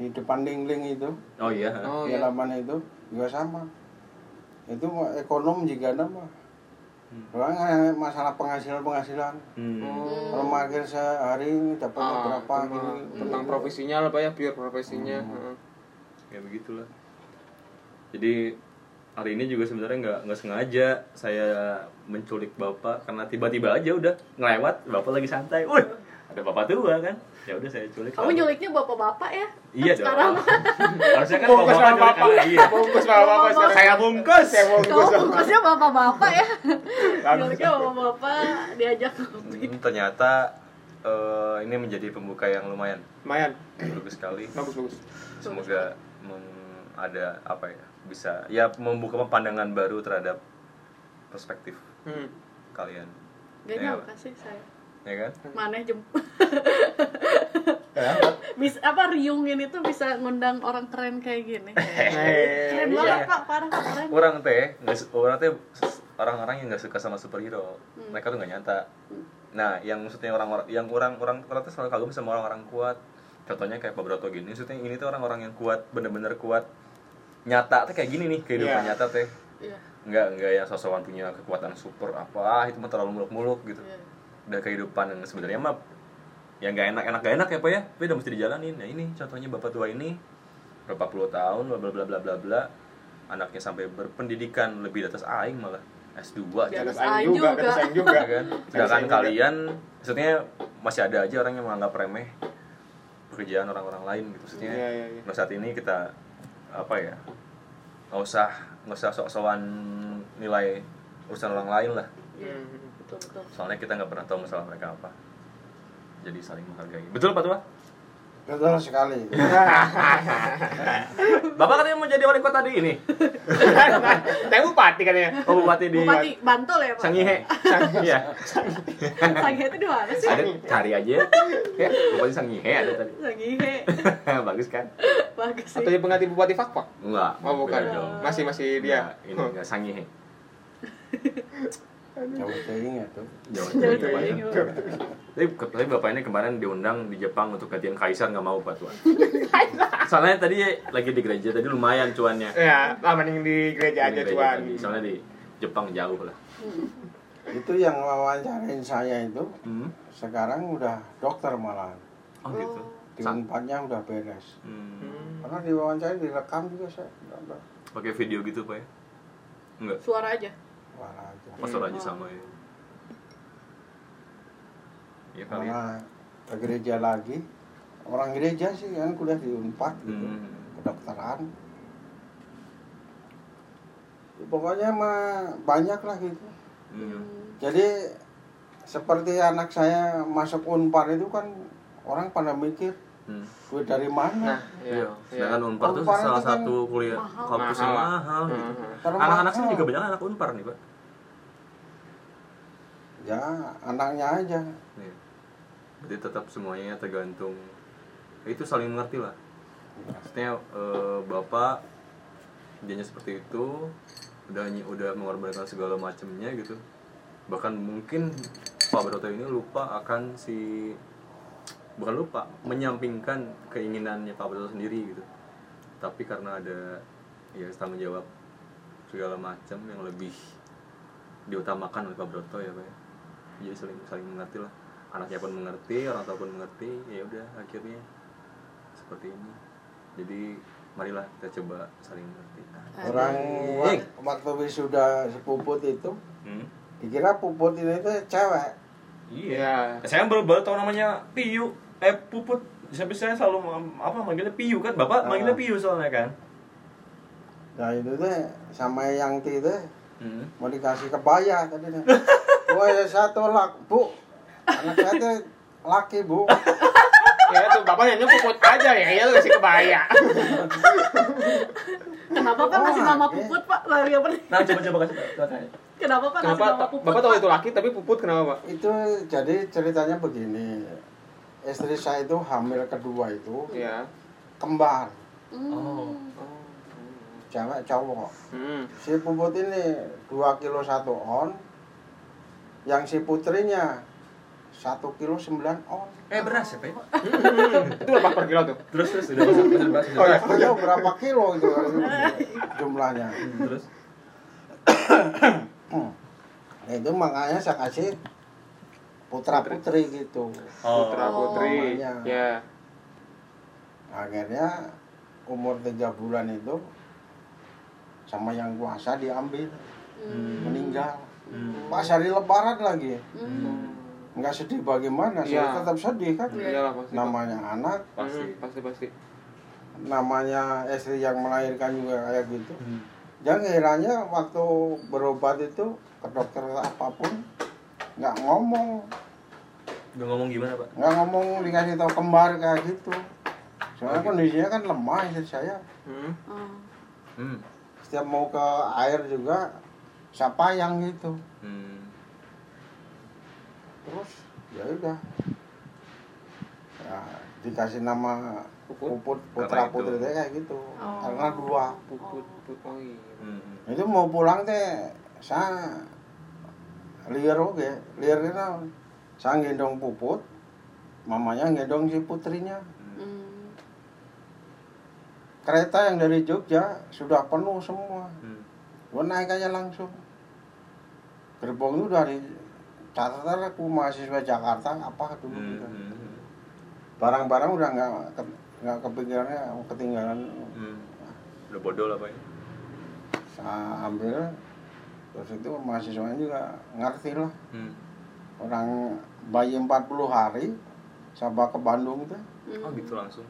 Speaker 5: di depan dingling itu
Speaker 3: oh iya
Speaker 2: Oh,
Speaker 5: di
Speaker 2: iya.
Speaker 5: halaman itu juga sama itu mah ekonom juga ada mah
Speaker 3: Hmm.
Speaker 5: Orang, eh, masalah penghasilan penghasilan
Speaker 3: Hmm.
Speaker 2: Oh.
Speaker 5: kalau makin sehari dapatnya
Speaker 2: Ah,
Speaker 5: berapa gitu.
Speaker 2: tentang-
Speaker 5: gini
Speaker 2: tentang profesinya lah Pak ya, pure profesinya. Heeh.
Speaker 3: ya begitulah jadi hari ini juga sebenarnya nggak nggak sengaja saya menculik bapak karena tiba-tiba aja udah ngelewat bapak lagi santai Wih, ada bapak tua kan ya udah saya culik
Speaker 4: Kamu
Speaker 3: lah.
Speaker 4: nyuliknya bapak-bapak ya?
Speaker 3: iya dong
Speaker 4: Sekarang.
Speaker 3: harusnya kan
Speaker 2: Bungkus
Speaker 3: bapak
Speaker 2: sama
Speaker 3: bapak
Speaker 2: bapak.
Speaker 3: iya
Speaker 2: Bungkus sama Bapak sekarang.
Speaker 3: saya bungkus
Speaker 2: Saya mau
Speaker 4: Kamu
Speaker 2: bungkus Iya, sama.
Speaker 4: bungkusnya bapak-bapak ya? Nyuliknya bapak-bapak diajak ngopi.
Speaker 3: Hmm, ternyata eh, ini menjadi pembuka yang lumayan
Speaker 2: Lumayan,
Speaker 3: bagus sekali.
Speaker 2: bagus-bagus.
Speaker 3: Semoga meng- ada apa ya bisa ya membuka pandangan baru terhadap perspektif
Speaker 2: Hmm.
Speaker 3: kalian.
Speaker 4: Gak
Speaker 3: Ya,
Speaker 2: Iya.
Speaker 4: nyangka sih saya.
Speaker 3: ya kan?
Speaker 4: Maneh jem bisa apa riungin itu bisa ngundang orang keren kayak gini
Speaker 2: Eh,
Speaker 4: keren banget
Speaker 3: iya.
Speaker 4: pak parah pak keren
Speaker 3: Orang teh nggak su- orang teh s- orang-orang yang nggak suka sama superhero. Mereka tuh nggak nyata. Nah, yang maksudnya orang-orang yang orang-orang orang tuh selalu kagum sama orang-orang kuat. Contohnya kayak Pak Broto gini, maksudnya ini tuh orang-orang yang kuat, bener-bener kuat. Nyata tuh kayak gini nih kehidupan
Speaker 2: Iya.
Speaker 3: nyata teh.
Speaker 4: Iya,
Speaker 3: nggak nggak yang sosokan punya kekuatan super apa ah, itu mah terlalu muluk-muluk gitu
Speaker 4: iya.
Speaker 3: udah kehidupan yang sebenarnya mah yang nggak enak enak gak enak ya pak ya tapi udah mesti dijalanin nah ini contohnya bapak tua ini berapa puluh tahun bla bla bla bla bla bla anaknya sampai berpendidikan lebih di atas aing malah S2 juga
Speaker 4: Di atas
Speaker 2: Aing
Speaker 4: Aing
Speaker 2: juga,
Speaker 4: juga.
Speaker 2: kata Aing juga
Speaker 3: kan
Speaker 2: kan.
Speaker 3: sedangkan kalian ya. maksudnya masih ada aja orang yang menganggap remeh pekerjaan orang-orang lain gitu maksudnya
Speaker 2: Iya, iya, iya.
Speaker 3: nah, saat ini kita apa ya nggak usah nggak usah sok-sokan nilai urusan orang lain lah
Speaker 2: Hmm.
Speaker 4: iya. betul betul
Speaker 3: soalnya kita nggak pernah tahu masalah mereka apa jadi saling menghargai betul pak tua
Speaker 5: betul sekali
Speaker 3: bapak katanya mau jadi wali kota di ini
Speaker 2: Nah, Saya bupati katanya.
Speaker 3: oh bupati di
Speaker 4: bupati Bantul ya pak
Speaker 3: Sangihe iya
Speaker 4: Sangihe itu di mana sih
Speaker 3: ada cari aja ya bupati Sangihe ada tadi
Speaker 4: Sangihe
Speaker 3: bagus kan
Speaker 4: bagus sih
Speaker 2: Atau ya, jadi pengganti bupati Fakfak?
Speaker 3: enggak
Speaker 2: Oh, bukan.
Speaker 3: beda dong.
Speaker 2: Masih masih dia.
Speaker 3: Enggak,
Speaker 2: Oh.
Speaker 3: ini enggak Sangihe
Speaker 5: jauh teing tuh
Speaker 3: Jawa Tengah,
Speaker 4: Jauh tuh,
Speaker 3: Jawa
Speaker 4: Aing.
Speaker 3: Tengah. Tapi, tapi bapak ini kemarin diundang di Jepang untuk gantian kaisar nggak mau pak tuan. Soalnya tadi lagi di gereja tadi lumayan cuannya.
Speaker 2: Ya, ah, mending di gereja aja
Speaker 3: Di gereja
Speaker 2: cuan.
Speaker 3: tadi. Soalnya di Jepang jauh lah.
Speaker 5: itu yang wawancarain saya itu
Speaker 3: Hmm.
Speaker 5: sekarang udah dokter malahan
Speaker 3: Oh gitu. Sa-
Speaker 5: diumpatnya udah beres
Speaker 3: Hmm.
Speaker 5: karena diwawancara direkam juga saya Nggak ada.
Speaker 3: Pakai video gitu pak ya? Enggak.
Speaker 4: Suara aja.
Speaker 5: Parah aja
Speaker 3: Pas suara aja sama ya. Iya kali. ya.
Speaker 5: karena ke gereja lagi orang gereja sih kan kuliah di unpad gitu
Speaker 3: Hmm.
Speaker 5: kedokteran pokoknya mah banyak lah gitu
Speaker 3: Hmm.
Speaker 5: Jadi seperti anak saya masuk Unpar itu kan orang pada mikir
Speaker 3: Hmm.
Speaker 5: duit dari mana.
Speaker 2: Nah,
Speaker 3: Iya.
Speaker 2: iya.
Speaker 3: Sedangkan Unpar tuh
Speaker 5: Unpar
Speaker 3: salah
Speaker 5: itu kan
Speaker 3: satu kuliah
Speaker 4: mahal.
Speaker 3: kampus yang
Speaker 2: Mahal.
Speaker 3: mahal gitu.
Speaker 2: Heeh.
Speaker 5: Termahal.
Speaker 3: Anak-anak sini juga banyak anak Unpar nih, Pak.
Speaker 5: Ya anaknya aja.
Speaker 3: Iya. Berarti tetap semuanya tergantung itu saling mengerti lah. Maksudnya eh, bapak kerjanya seperti itu udah ny- udah mengorbankan segala macamnya gitu. Bahkan mungkin Pak Broto ini lupa akan si bukan lupa menyampingkan keinginannya Pak Broto sendiri gitu. Tapi karena ada ya tanggung jawab segala macam yang lebih diutamakan oleh Pak Broto ya Pak ya jadi saling saling mengerti lah anaknya pun mengerti orang tua pun mengerti ya udah akhirnya seperti ini jadi marilah kita coba saling mengerti
Speaker 5: Orang wak- waktu wisuda sepuput itu
Speaker 3: hmm?
Speaker 5: dikira puput ini itu cewek.
Speaker 2: Iya.
Speaker 3: saya baru baru tahu namanya Piyu eh Puput tapi saya selalu ma- apa manggilnya Piyu kan bapak
Speaker 5: Ah.
Speaker 3: manggilnya Piyu soalnya kan
Speaker 5: Nah itu teh sama yang itu teh
Speaker 3: hmm.
Speaker 5: mau dikasih kebaya tadi teh. Wah ya satu lak bu. Anak saya teh laki bu.
Speaker 2: Ya tuh bapaknya nyemput aja ya, ya lu kasih kebaya.
Speaker 4: Kenapa kan masih
Speaker 5: Oh,
Speaker 4: nama
Speaker 5: oke.
Speaker 4: puput pak? Lah, nggak pernah.
Speaker 3: nah coba coba kasih tahu tanya
Speaker 4: Kenapa pak
Speaker 2: iya. Kenapa?
Speaker 4: masih nama
Speaker 2: ta-
Speaker 4: puput?
Speaker 2: Bapak tahu
Speaker 4: Pak?
Speaker 2: itu laki tapi puput kenapa, Pak?
Speaker 5: itu jadi ceritanya begini istri saya itu hamil kedua itu
Speaker 2: Iya.
Speaker 5: kembar
Speaker 4: Hmm.
Speaker 3: oh
Speaker 5: cewek cowok
Speaker 2: Hmm.
Speaker 5: si puput ini 2 kilo 1 on yang si putrinya 1 kilo 9 on
Speaker 3: eh beras ya pak ya?
Speaker 2: Itu berapa per kilo tuh?
Speaker 3: terus terus udah masuk udah masuk
Speaker 2: Oh, iya.
Speaker 5: Beliau berapa kilo itu kan, jumlahnya
Speaker 3: terus
Speaker 5: Nah, itu makanya saya kasih putra putri gitu
Speaker 3: oh
Speaker 2: Putra putri.
Speaker 5: Namanya.
Speaker 2: Ya.
Speaker 5: akhirnya umur 3 bulan itu sama yang kuasa diambil
Speaker 4: Hmm.
Speaker 5: meninggal
Speaker 3: Hmm.
Speaker 5: pas hari lebaran lagi
Speaker 4: Hmm.
Speaker 5: nggak sedih bagaimana saya
Speaker 2: Iya.
Speaker 5: tetap sedih kan
Speaker 4: Iya.
Speaker 2: Iyalah pasti. Pak.
Speaker 5: namanya anak
Speaker 3: pasti
Speaker 2: Hmm, pasti pasti.
Speaker 5: namanya istri yang melahirkan juga kayak gitu
Speaker 3: Hmm.
Speaker 5: jangan kiranya waktu berobat itu ke dokter apapun nggak ngomong
Speaker 3: udah ngomong gimana pak
Speaker 5: nggak ngomong dikasih tahu kembar kayak gitu soalnya kondisinya kan lemah istri saya
Speaker 2: Hmm.
Speaker 4: Hmm.
Speaker 3: hmm.
Speaker 5: setiap mau ke air juga siapa yang gitu
Speaker 3: Hmm.
Speaker 5: terus ya udah ya, dikasih nama
Speaker 2: Puput.
Speaker 5: puput
Speaker 3: Karena
Speaker 5: putra
Speaker 3: itu.
Speaker 5: putri teh kayak gitu karena dua
Speaker 2: Puput. Puput. Oh iya.
Speaker 3: Hmm.
Speaker 5: itu mau pulang teh saya liar oke liar kita saya gendong puput mamanya gendong si putrinya
Speaker 4: Hmm.
Speaker 5: kereta yang dari Jogja sudah penuh semua
Speaker 3: Hmm.
Speaker 5: gue naik aja langsung gerbong itu dari catatan aku mahasiswa Jakarta apa dulu
Speaker 3: Hmm.
Speaker 5: gitu.
Speaker 3: Hmm.
Speaker 5: barang-barang udah nggak ke- nggak kepikirannya ketinggalan
Speaker 3: Hmm. Udah bodoh lah pak ya.
Speaker 5: saya ah, ambil terus itu mahasiswanya juga ngerti lah
Speaker 3: Hmm.
Speaker 5: orang bayi 40 hari sama ke Bandung itu
Speaker 4: Hmm.
Speaker 3: Oh gitu langsung.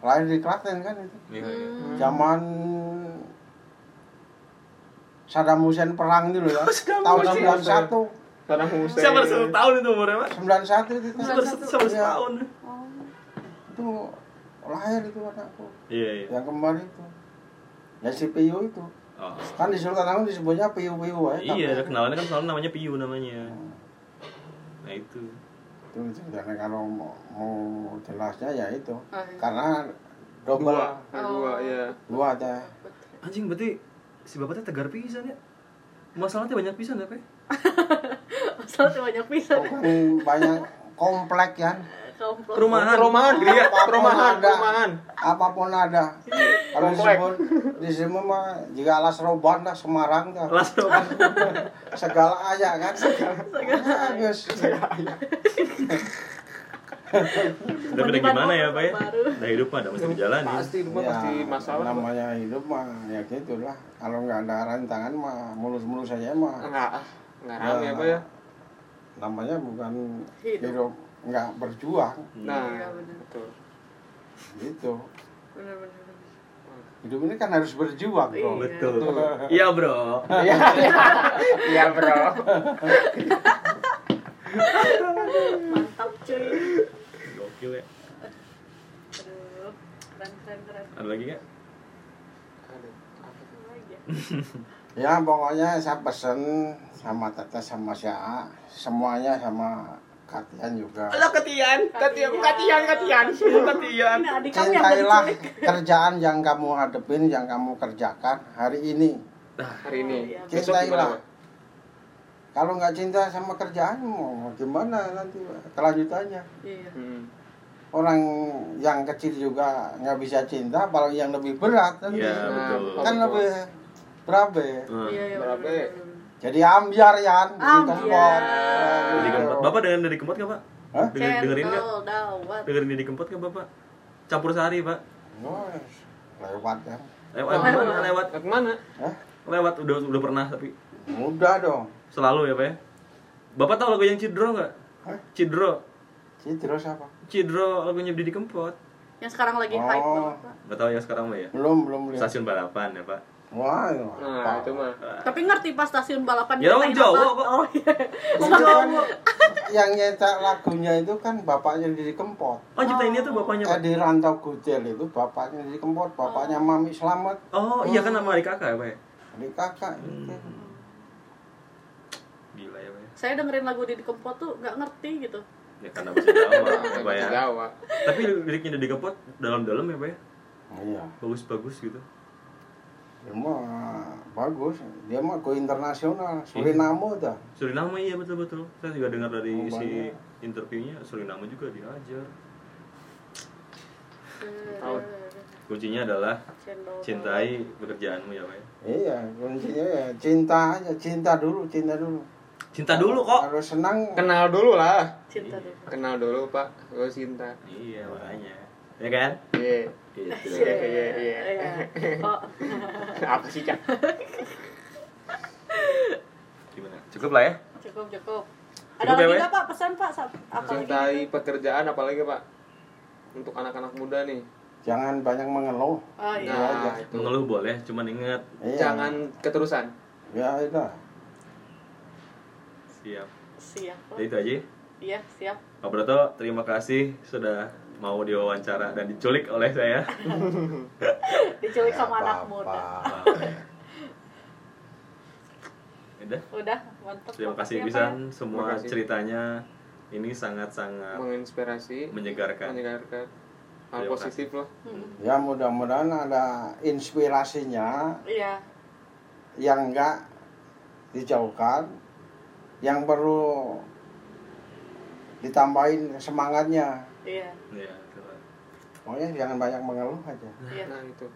Speaker 5: lahir di Klaten kan itu
Speaker 3: Iya iya.
Speaker 4: Hmm.
Speaker 5: zaman Saddam Hussein perang dulu ya
Speaker 3: Saddam
Speaker 5: tahun
Speaker 2: Hussein.
Speaker 5: 91
Speaker 2: Tanah Hussein.
Speaker 3: Saya baru satu tahun itu umurnya pak.
Speaker 5: 91 itu
Speaker 3: Saya baru
Speaker 5: kan.
Speaker 3: satu saya baru
Speaker 5: Iya.
Speaker 3: setahun.
Speaker 4: Oh.
Speaker 5: itu lahir itu anakku
Speaker 3: Iya iya.
Speaker 5: yang kemarin itu ya si Piyu itu
Speaker 3: Oh.
Speaker 5: kan di Sultan Agung disebutnya Piyu Piyu ya
Speaker 3: Iya, ada kenalannya kan selalu namanya Piyu namanya. Nah itu.
Speaker 5: itu ceritanya kalau mau, mau jelasnya ya itu
Speaker 4: Ah, iya.
Speaker 5: karena
Speaker 2: dua.
Speaker 5: double ya.
Speaker 2: Ada dua,
Speaker 4: Oh.
Speaker 2: iya.
Speaker 5: dua teh
Speaker 3: Anjing berarti si bapaknya tegar pisan ya. Masalahnya banyak pisan ya pak.
Speaker 4: Masalah tuh banyak pisan.
Speaker 5: bukan banyak komplek kan
Speaker 4: Komplot.
Speaker 2: Perumahan, perumahan, geria, perumahan,
Speaker 5: ada.
Speaker 2: perumahan.
Speaker 5: apapun ada kalau
Speaker 2: Komplek.
Speaker 5: disebut di sini mah jika alas roban dah Semarang dah
Speaker 3: langsung
Speaker 5: segala aja kan segala guys
Speaker 3: udah beda gimana ya pak ya udah hidup mah udah mesti dijalani
Speaker 2: Pasti rumah
Speaker 5: Ya,
Speaker 2: pasti masalah.
Speaker 5: namanya hidup mah ya gitulah kalau nggak ada rantangan mah mulus-mulus aja mah
Speaker 2: Enggak, ah, enggak rame apa ya?
Speaker 5: namanya bukan
Speaker 4: Hidup.
Speaker 5: hidup nggak berjuang
Speaker 3: Hmm.
Speaker 2: Nah,
Speaker 4: Iya, bener.
Speaker 2: betul.
Speaker 5: gitu
Speaker 4: Bener-bener.
Speaker 5: hidup ini kan harus berjuang bro
Speaker 4: Iya.
Speaker 3: betul iya bro
Speaker 2: Iya, iya bro.
Speaker 4: Mantap cuy.
Speaker 3: gokil ya
Speaker 4: Aduh, keren keren keren.
Speaker 3: ada lagi nggak
Speaker 4: Apa lagi ya?
Speaker 5: ya pokoknya saya pesen sama Tete sama si A semuanya sama Katian juga
Speaker 2: Halo ketian, ketian, ketian, ketian, ketian.
Speaker 4: Ini adik kami yang
Speaker 5: cintailah
Speaker 4: diculik.
Speaker 5: kerjaan yang kamu hadepin yang kamu kerjakan hari ini
Speaker 2: Hari ini,
Speaker 4: Iya,
Speaker 2: besok
Speaker 5: cintailah
Speaker 2: gimana?
Speaker 5: kalau nggak cinta sama kerjaan mau gimana nanti kelanjutannya
Speaker 4: Iya.
Speaker 2: Hmm.
Speaker 5: orang yang kecil juga nggak bisa cinta apalagi yang lebih berat nanti.
Speaker 3: Iya,
Speaker 2: Nah,
Speaker 3: betul.
Speaker 5: kan
Speaker 2: betul.
Speaker 5: lebih berabe
Speaker 3: Hmm.
Speaker 4: Iya, iya.
Speaker 2: Berapa
Speaker 4: bener,
Speaker 2: ya?
Speaker 4: bener,
Speaker 5: jadi ambiar ya
Speaker 4: Ambiar.
Speaker 3: Didi Kempot. bapak dengan dari kempot nggak pak
Speaker 5: Hah?
Speaker 4: bener.
Speaker 3: Denger- dengerin nggak
Speaker 4: Cendol dawet.
Speaker 3: dengerin dari kempot nggak bapak campur sehari pak
Speaker 5: lewat kan
Speaker 3: lewat
Speaker 2: Wah.
Speaker 3: gimana? lewat
Speaker 2: Ke mana?
Speaker 5: Hah?
Speaker 3: lewat udah udah pernah tapi
Speaker 5: mudah dong
Speaker 3: selalu ya pak ya bapak tahu lagu yang Cidro nggak
Speaker 5: Hah?
Speaker 3: Cidro
Speaker 5: Citro siapa?
Speaker 3: Cidro lagunya Didi Kempot
Speaker 4: Yang sekarang lagi
Speaker 5: Oh.
Speaker 4: hype banget, Pak.
Speaker 3: nggak tahu ya sekarang pak ya
Speaker 5: Belum, belum lihat.
Speaker 3: stasiun balapan ya pak
Speaker 5: Wah, iya. itu
Speaker 2: Nah, itu mah.
Speaker 4: Tapi ngerti pas stasiun balapan
Speaker 3: Ya, orang
Speaker 4: Kan main
Speaker 3: Jawa
Speaker 4: apa?
Speaker 3: kok.
Speaker 4: Oh iya.
Speaker 5: Bukan Kan yang nyetak lagunya itu kan bapaknya Didi Kempot.
Speaker 3: oh ciptainnya tuh bapaknya pak
Speaker 5: Edi Rantau Kucil itu bapaknya Didi Kempot, bapaknya Mami Slamet,
Speaker 3: oh iya kan nama adik kakak ya pak ya
Speaker 5: adik kakak gitu.
Speaker 3: gila ya pak ya
Speaker 4: Saya dengerin lagu Didi Kempot tuh nggak ngerti gitu.
Speaker 3: ya karena bahasa Jawa ya pak
Speaker 2: Bahasa
Speaker 3: ya
Speaker 2: Jawa.
Speaker 3: tapi liriknya Didi Kempot dalam-dalam ya pak ya
Speaker 5: Iya,
Speaker 3: bagus-bagus gitu
Speaker 5: dia Ya mah bagus. Dia mah go internasional, Suriname dah.
Speaker 3: Suriname iya betul-betul saya juga dengar dari
Speaker 5: Oh,
Speaker 3: si
Speaker 5: banyak.
Speaker 3: interviewnya Suriname juga diajar
Speaker 2: Tahu.
Speaker 3: kuncinya adalah
Speaker 4: Cendol.
Speaker 3: cintai pekerjaanmu ya pak ya
Speaker 5: Iya, kuncinya ya cinta aja, cinta dulu, cinta dulu.
Speaker 3: cinta dulu kok
Speaker 5: Harus senang.
Speaker 2: Kenal dulu lah.
Speaker 4: Cinta dulu.
Speaker 2: Kenal dulu, Pak. Gue Sinta.
Speaker 3: iya makanya ya kan
Speaker 2: Iya.
Speaker 3: gitu
Speaker 2: Iya, iya, iya.
Speaker 4: Iya. Oh,
Speaker 2: Apa sih, Cak?
Speaker 3: gimana cukup lah ya
Speaker 4: cukup
Speaker 3: Cukup
Speaker 4: cukup. Ada
Speaker 3: ya,
Speaker 4: lagi
Speaker 3: Wei?
Speaker 4: nggak Pak pesan Pak? Sa- Apa lagi?
Speaker 2: Cintai pekerjaan apalagi, Pak? Untuk anak-anak muda nih.
Speaker 5: Jangan banyak mengeluh.
Speaker 4: Oh iya.
Speaker 2: Nah, itu.
Speaker 3: mengeluh boleh cuman ingat
Speaker 5: Iya.
Speaker 2: Jangan keterusan.
Speaker 5: Ya itu.
Speaker 3: siap
Speaker 4: Siap. Pak.
Speaker 3: jadi itu aja ya.
Speaker 4: Iya, siap.
Speaker 3: Pak Broto, terima kasih sudah mau diwawancara dan diculik oleh saya.
Speaker 4: Diculik sama
Speaker 2: Iya,
Speaker 5: Ya,
Speaker 4: anak
Speaker 5: apa-apa.
Speaker 4: muda.
Speaker 3: Udah,
Speaker 4: Udah, mantap.
Speaker 3: terima kasih
Speaker 4: Makasih ya, Pak.
Speaker 3: pisan semua
Speaker 2: Terima kasih.
Speaker 3: ceritanya. Ini sangat-sangat
Speaker 2: Menginspirasi,
Speaker 3: menyegarkan.
Speaker 2: menyegarkan. Hal
Speaker 3: Terima
Speaker 2: positif loh.
Speaker 4: Hmm.
Speaker 5: Ya mudah-mudahan ada inspirasinya
Speaker 4: Iya.
Speaker 5: yang enggak dijauhkan, yang perlu ditambahin semangatnya.
Speaker 4: Iya.
Speaker 3: Ya, gitu.
Speaker 5: Pokoknya jangan banyak mengeluh aja.
Speaker 4: Iya.
Speaker 2: Nah, itu.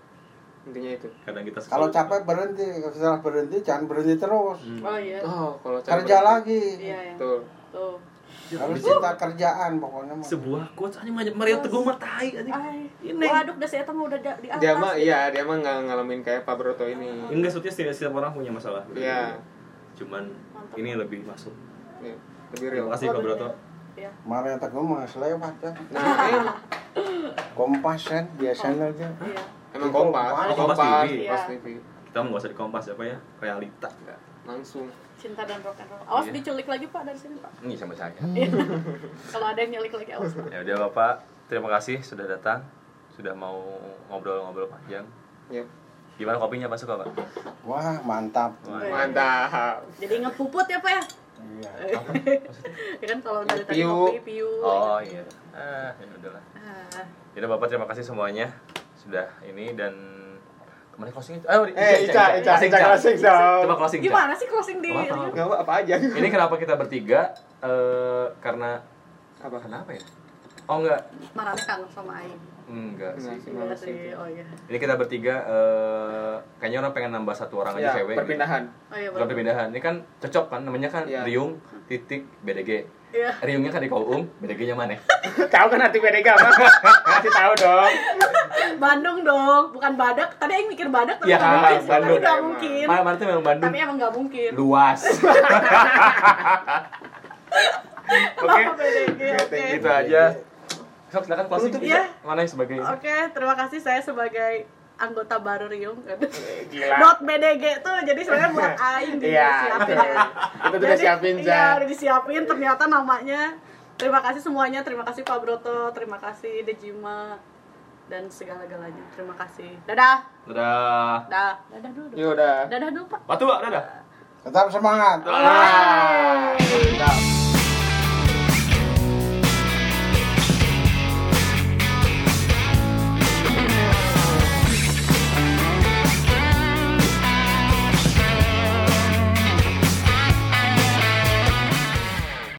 Speaker 2: Intinya itu.
Speaker 3: kadang kita
Speaker 5: Kalau capek berhenti, setelah berhenti jangan berhenti terus.
Speaker 3: Hmm.
Speaker 4: Oh iya.
Speaker 2: Oh, kalau cara
Speaker 5: Kerja
Speaker 2: berarti-
Speaker 5: lagi.
Speaker 4: Iya, iya.
Speaker 2: Betul.
Speaker 4: Tuh.
Speaker 5: Harus cinta kerjaan pokoknya. mah.
Speaker 3: sebuah quotes anjing aja Mario Teguh mah tai anjing.
Speaker 4: Ay.
Speaker 3: Ini.
Speaker 4: Waduh, udah saya mah udah da- di atas.
Speaker 2: Dia mah iya, dia mah nggak ngalamin kayak Pak Broto ini.
Speaker 3: Enggak maksudnya setiap, setiap orang punya masalah.
Speaker 2: Iya.
Speaker 3: Cuman
Speaker 4: Mantap.
Speaker 3: ini lebih masuk.
Speaker 2: Iya, Lebih real.
Speaker 3: Terima kasih Pak Broto.
Speaker 4: Iya.
Speaker 5: Maria Teguh mah selewat ya.
Speaker 2: Nah, ini
Speaker 5: Kompasen biasanya aja.
Speaker 4: Iya.
Speaker 2: emang kompas, Oh,
Speaker 5: Kompas.
Speaker 2: kompas,
Speaker 3: TV.
Speaker 2: kompas
Speaker 4: Iya.
Speaker 2: TV.
Speaker 3: Kita mau nggak usah di kompas apa ya? Realita.
Speaker 2: Nggak, Langsung.
Speaker 4: Cinta dan rock and roll. Awas
Speaker 3: Iya.
Speaker 4: diculik lagi Pak dari sini Pak.
Speaker 3: Ini sama
Speaker 4: Iya.
Speaker 3: saya.
Speaker 4: Kalau ada yang nyulik lagi awas Pak.
Speaker 3: Ya udah Bapak, terima kasih sudah datang. Sudah mau ngobrol-ngobrol panjang.
Speaker 2: Ya.
Speaker 3: Gimana kopinya Pak suka, Pak?
Speaker 5: Wah, mantap.
Speaker 2: Mantap.
Speaker 4: Jadi ngepuput ya Pak ya?
Speaker 5: Iya.
Speaker 4: Ya kan kalau dari tadi
Speaker 2: Piu.
Speaker 4: ngopi piu.
Speaker 3: Oh iya. Ah, ya udahlah.
Speaker 4: Ah.
Speaker 3: Jadi Bapak terima kasih semuanya sudah ini dan kemarin closing Ah, ayo
Speaker 2: Eh, Ica, Ica, Ica, closing
Speaker 3: Coba
Speaker 2: dong.
Speaker 3: closing. Ica.
Speaker 4: Gimana sih closing di?
Speaker 3: Nggak apa-apa.
Speaker 2: Nggak apa, apa aja.
Speaker 3: Ini kenapa kita bertiga? Eh, karena
Speaker 2: Apa?
Speaker 3: kenapa ya? Oh enggak.
Speaker 4: Marahnya kangen sama Aing.
Speaker 3: Enggak sih.
Speaker 2: Enggak sih,
Speaker 4: Enggak
Speaker 2: males
Speaker 4: sih.
Speaker 2: itu.
Speaker 4: Oh iya.
Speaker 3: Ini kita bertiga eh kayaknya orang pengen nambah satu orang
Speaker 2: Ya,
Speaker 3: aja cewek. gitu.
Speaker 2: perpindahan.
Speaker 4: Oh iya.
Speaker 3: Bukan
Speaker 4: bener.
Speaker 3: perpindahan. Ini kan cocok kan namanya kan
Speaker 2: Iya.
Speaker 3: Riung titik BDG.
Speaker 4: Iya.
Speaker 3: Riungnya kan di Kauung, BDG-nya mana? ya?
Speaker 2: Tahu kan nanti PDK apa? Kasih tahu dong.
Speaker 4: Bandung dong, bukan badak. Tadi Aing mikir badak tapi
Speaker 3: Iya,
Speaker 4: nggak
Speaker 3: Bandung.
Speaker 4: mungkin sih. Tapi nggak
Speaker 2: Emang.
Speaker 4: mungkin.
Speaker 3: Mana mana tuh memang Bandung
Speaker 4: Tapi emang nggak mungkin.
Speaker 3: luas.
Speaker 4: Oke. Oke.
Speaker 3: Itu Gitu aja. Sok silakan closing. Iya,
Speaker 4: Iya. Penutup ya.
Speaker 3: Mana yang sebagai
Speaker 4: Oke, terima kasih saya sebagai anggota baru Riung.
Speaker 2: Gila.
Speaker 4: Dot BDG tuh jadi sebenarnya buat Aing
Speaker 2: Iya,
Speaker 4: disiapin.
Speaker 2: Itu udah
Speaker 4: Jadi,
Speaker 2: siapin,
Speaker 4: Iya,
Speaker 2: Zan.
Speaker 4: udah disiapin ternyata namanya. Terima kasih semuanya, terima kasih Pak Broto, terima kasih Dejima dan segala-galanya. Terima kasih. Dadah.
Speaker 3: Dadah.
Speaker 4: Dadah. Dadah dulu.
Speaker 2: Ya udah.
Speaker 4: Dadah dulu, Pak.
Speaker 3: Batu, dadah.
Speaker 5: Tetap semangat.
Speaker 4: Yeay.
Speaker 2: Nah.